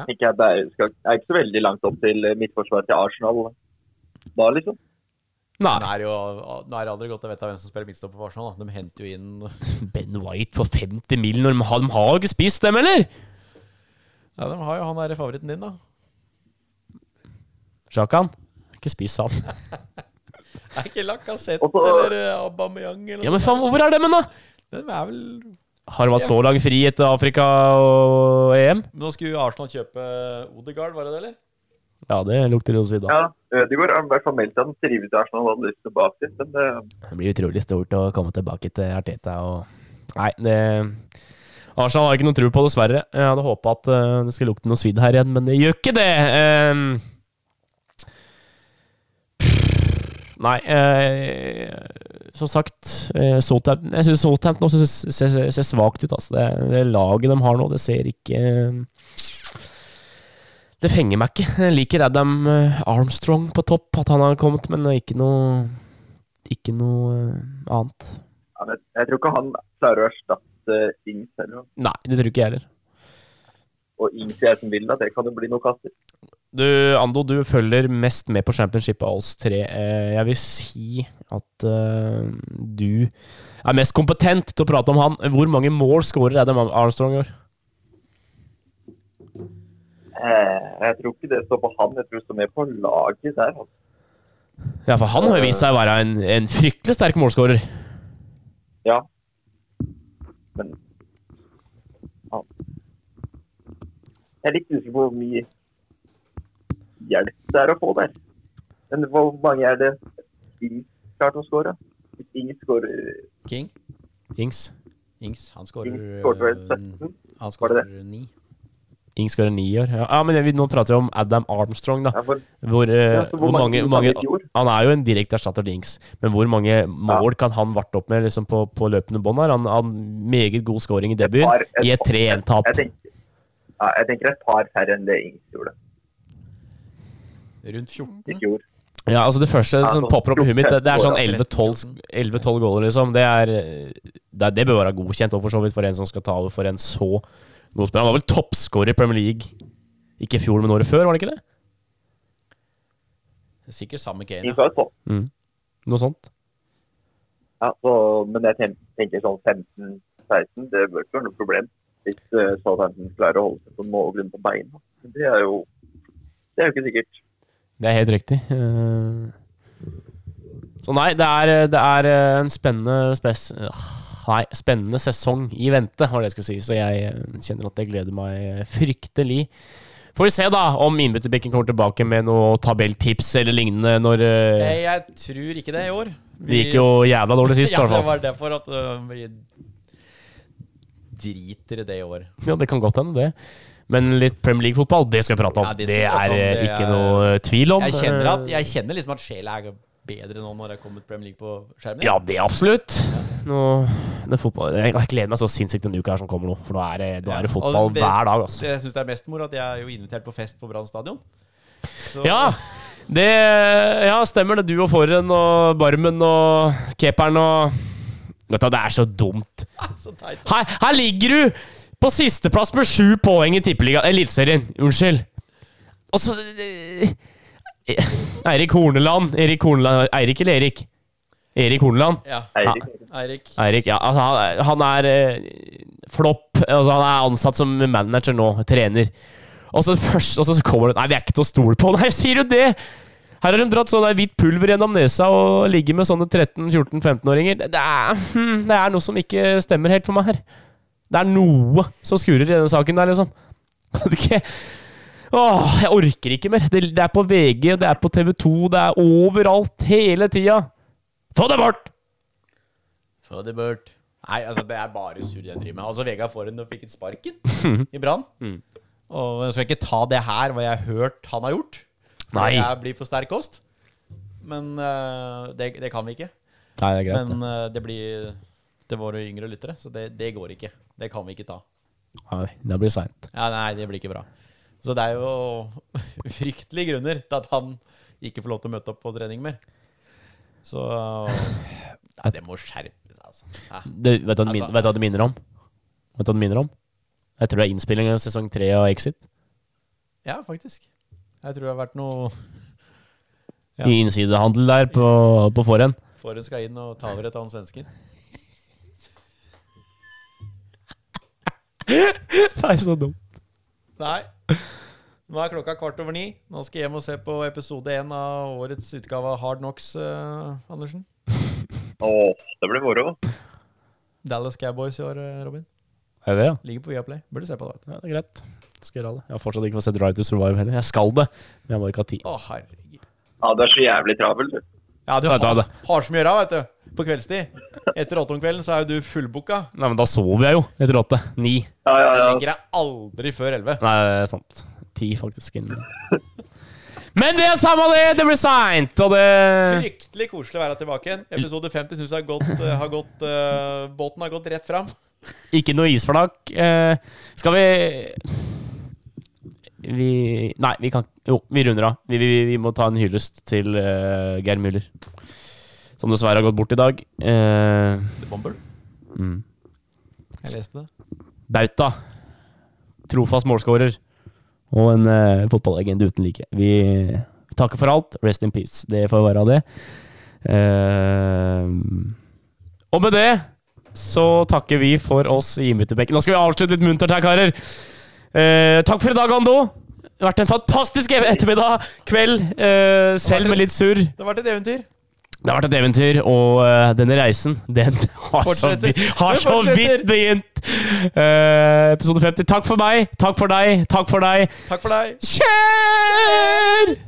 ikke, at det er, skal, er ikke så veldig langt opp til midtforsvaret til Arsenal da, liksom. Nei. Nå er det jo nå er det aldri godt å vite hvem som spiller midtstopper på Arsenal. da. De henter jo inn Ja, Ben White for 50 mil når de har, de har jo ikke spist dem, eller? de har jo han derre favoritten din, da. Sjakan, ikke spis han. Er ikke Lacassette Og så- eller eh, Aubameyang eller Ja, men faen, hvor er dem, da? noe? Den er vel Har de hatt så lang fri etter Afrika og E EM? Men Nå skulle jo Arsenal kjøpe Odegaard, var det det, eller? Ja, det lukter jo svidd av. Ja, Ødegaard har i hvert fall meldt at han trives i Arsenal og hadde lyst tilbake. Men eh, det, Det blir utrolig stort å komme tilbake til Arteta og Nei, det Arsenal har ikke noe tro på, dessverre. Jeg hadde håpa at eh, det skulle lukte noe svidd her igjen, men det gjør ikke det. Ehm. Nei eh, Som sagt, eh, Southampton Jeg syns Southampton også ser, ser, ser svakt ut. Altså. Det, det laget de har nå, det ser ikke eh, Det fenger meg ikke. Jeg liker Adam eh, Armstrong på topp, at han har kommet, men det er ikke noe ikke noe eh, annet. ja, men jeg tror ikke han klarer å erstatte Ings heller. Nei, det tror ikke jeg heller. Og Ings i Aston Villa, det kan jo bli noe kaster. Du, Ando, du følger mest med på championship av oss tre. Eh, Jeg vil si at eh, du er mest kompetent til å prate om han. Hvor mange mål skårer Adam Armstrong i år? Eh, jeg tror ikke det står på han, jeg tror det står mer på laget der. altså. Ja, for han har jo vist seg å være en, en fryktelig sterk målskårer. Ja. Men ja. Jeg er litt usikker på hvor mye hjelp det er å få der. Men hvor mange er det Ings klarte å skåre? Hvis Ings skårer King? Ings. Ings. Han Ings skårer skårer vel øh, 17? Han Var det skårer ni. Ings skårer ni i år. Ja, ja men jeg, vil- nå prater vi om Adam Armstrong, da. Ja, for, Hvor, eh, ja, så hvor mange, hvor mange i fjor? Han er jo en direkte erstatter til Ings, men hvor mange mål kan han varte opp med liksom på, på løpende bånd? her? Han han meget god scoring i debuten, par- et i et par- 3-1-tap. Jeg tenker, ja, jeg tenker et par færre enn det Ings gjorde Rundt i 14. fjor. Ja, altså Det første Ja, som sånn popper opp i huet mitt, det, det er sånn 11-12 14. sk- 11-12 goaler, liksom. Det, er, det, det bør være godkjent og for så vidt for en som skal ta over for en så god spiller. Han var vel toppskårer i Premier League, ikke i fjor, men året før, var han ikke det? Sikkert sammen med Kane. Ings ja. var jo topp, Noe sånt. ja, så- men jeg ten- tenker sånn 15-16, det bør ikke være noe problem. Hvis uh, Southampton klarer å holde seg på noenlunde på beina. Men Det er jo det er jo ikke sikkert. Det er helt riktig. Eh, Så nei, det er, det er eh, en spennende spes... Åh, Nei, spennende sesong i vente, var det jeg skulle si. Så jeg eh, kjenner at jeg gleder meg fryktelig. Får vi se da om innbytterbekken kommer tilbake med noe tabelltips eller lignende når eh, Jeg, jeg tror ikke det i år. Det gikk jo jævla dårlig sist, i ja, hvert det fall. var derfor at øh, vi driter i det i år. Ja, det kan godt hende, det. Men litt Premier League-fotball, det skal vi prate om. Ja, det det, skal vi prate er om. eh, Det ikke er- noe eh, tvil om. Jeg kjenner, at, Eh, jeg kjenner liksom at sjela er bedre nå når det er kommet Premier League på skjermen. Ja, det absolutt. Nå, det er fotball, jeg, jeg gleder meg så sinnssykt til denne uka her som kommer nå. For nå er det, nå er det Ja, og fotball det- hver dag, altså. Det jeg syns det er mest moro, at jeg er jo invitert på fest på Brann stadion. Så- Ja, det ja, stemmer det. Du og Forren og Barmen og keeperen og Vet du, hva, det er så dumt. Så teit. Her, her ligger du på sisteplass med sju poeng i tippeligaen Eliteserien. Unnskyld. Og så eh, Eirik Horneland. Erik Horneland Eirik eller Erik? Erik Horneland. Ja. Eirik, Eirik. Eirik, ja. Altså, han, han er eh, flopp. Altså, han er ansatt som manager nå. Trener. Og så, først, og så kommer det Nei, vi er ikke til å stole på! Nei, sier du det?! Her har de dratt sånn der hvitt pulver gjennom nesa og ligger med sånne 13-14-15-åringer. Det, det, er- hm, det er noe som ikke stemmer helt for meg her. Det er noe som skurer i denne saken der, liksom. Kan du ikke Åh, jeg orker ikke mer. Det, det er på VG, det er på TV2, det er overalt. Hele tida. Få det bort! Få det bort. Nei, altså, det er bare surr jeg driver med. Altså, Vegard Forhen fikk et sparken i Brann. Mm. Og jeg skal ikke ta det her, hva jeg har hørt han har gjort. Nei. Det blir for sterk kost. Men øh, det, det kan vi ikke. eh, Nei, det er greit. Men øh, det blir Det var jo yngre lyttere, så det, det går ikke. Det kan vi ikke ta. Nei, det blir seint. Ja, nei, det blir ikke bra. Så det er jo fryktelige grunner til at han ikke får lov til å møte opp på trening mer. Så Nei, det må skjerpe seg, altså. Ja. Vet du hva det min- Altså- vet du hva det minner om? Vet du hva det minner om? Jeg tror det er innspilling av sesong tre av Exit. Ja, faktisk. Jeg tror det har vært noe Ja. I innsidehandel der på, på forhen. Forhen skal inn og ta over et annet svensken. Nei, så dumt. Nei. Nå er klokka kvart over ni. Nå skal jeg hjem og se på episode én av årets utgave av Hard Knocks, eh, Andersen. Åh, det blir moro. Dallas Cowboys i år, eh, Robin. Er det det, ja? Ligger på Viaplay. Burde se på det. vet du. Ja, det er greit. Skal gjøre det. Jeg har fortsatt ikke fått sett Drive to Survive heller. Jeg skal det, men jeg må ikke ha tid. Å, herregud. Ja, du er så jævlig travel, du. Ja, du Vet du hva har, det- har så mye å gjøre, vet du. På kveldstid. Etter åtte om kvelden så er jo du fullbooka. Nei, men da sover jeg jo etter åtte. Ni. Ja, ja, Jeg ja. Ligger deg aldri før elleve. Nei, det er sant. Ti, faktisk. innen- Men det er samme det! Det blir seint, og det Fryktelig koselig å være tilbake igjen. Episode 50 syns jeg har gått, eh, har gått eh, Båten har gått rett fram. Ikke noe isflak. Eh, skal vi Vi Nei, vi kan Jo, vi runder av. Vi, vi, vi må ta en hyllest til eh, Geir Müller. Som dessverre har gått bort i dag. Eh, The Bomber. mm. Jeg leste det. Bauta. Trofast målskårer. Og en eh, fotballegende uten like. Vi takker for alt. Rest in peace. Det får være det. Eh, og med det så takker vi for oss i Mutterbenken. Nå skal vi avslutte litt muntert her, karer. Eh, takk for i dag, Ando. Det har vært en fantastisk e- ettermiddag, kveld, eh, selv med litt surr. Det har vært et eventyr. Det har vært et eventyr, og eh, denne reisen, den har så, Fortsetter. vi- har Den så fortsetter. vidt begynt! Eh, episode 50. Takk for meg, takk for deg, takk for deg. Takk for deg. Kjør!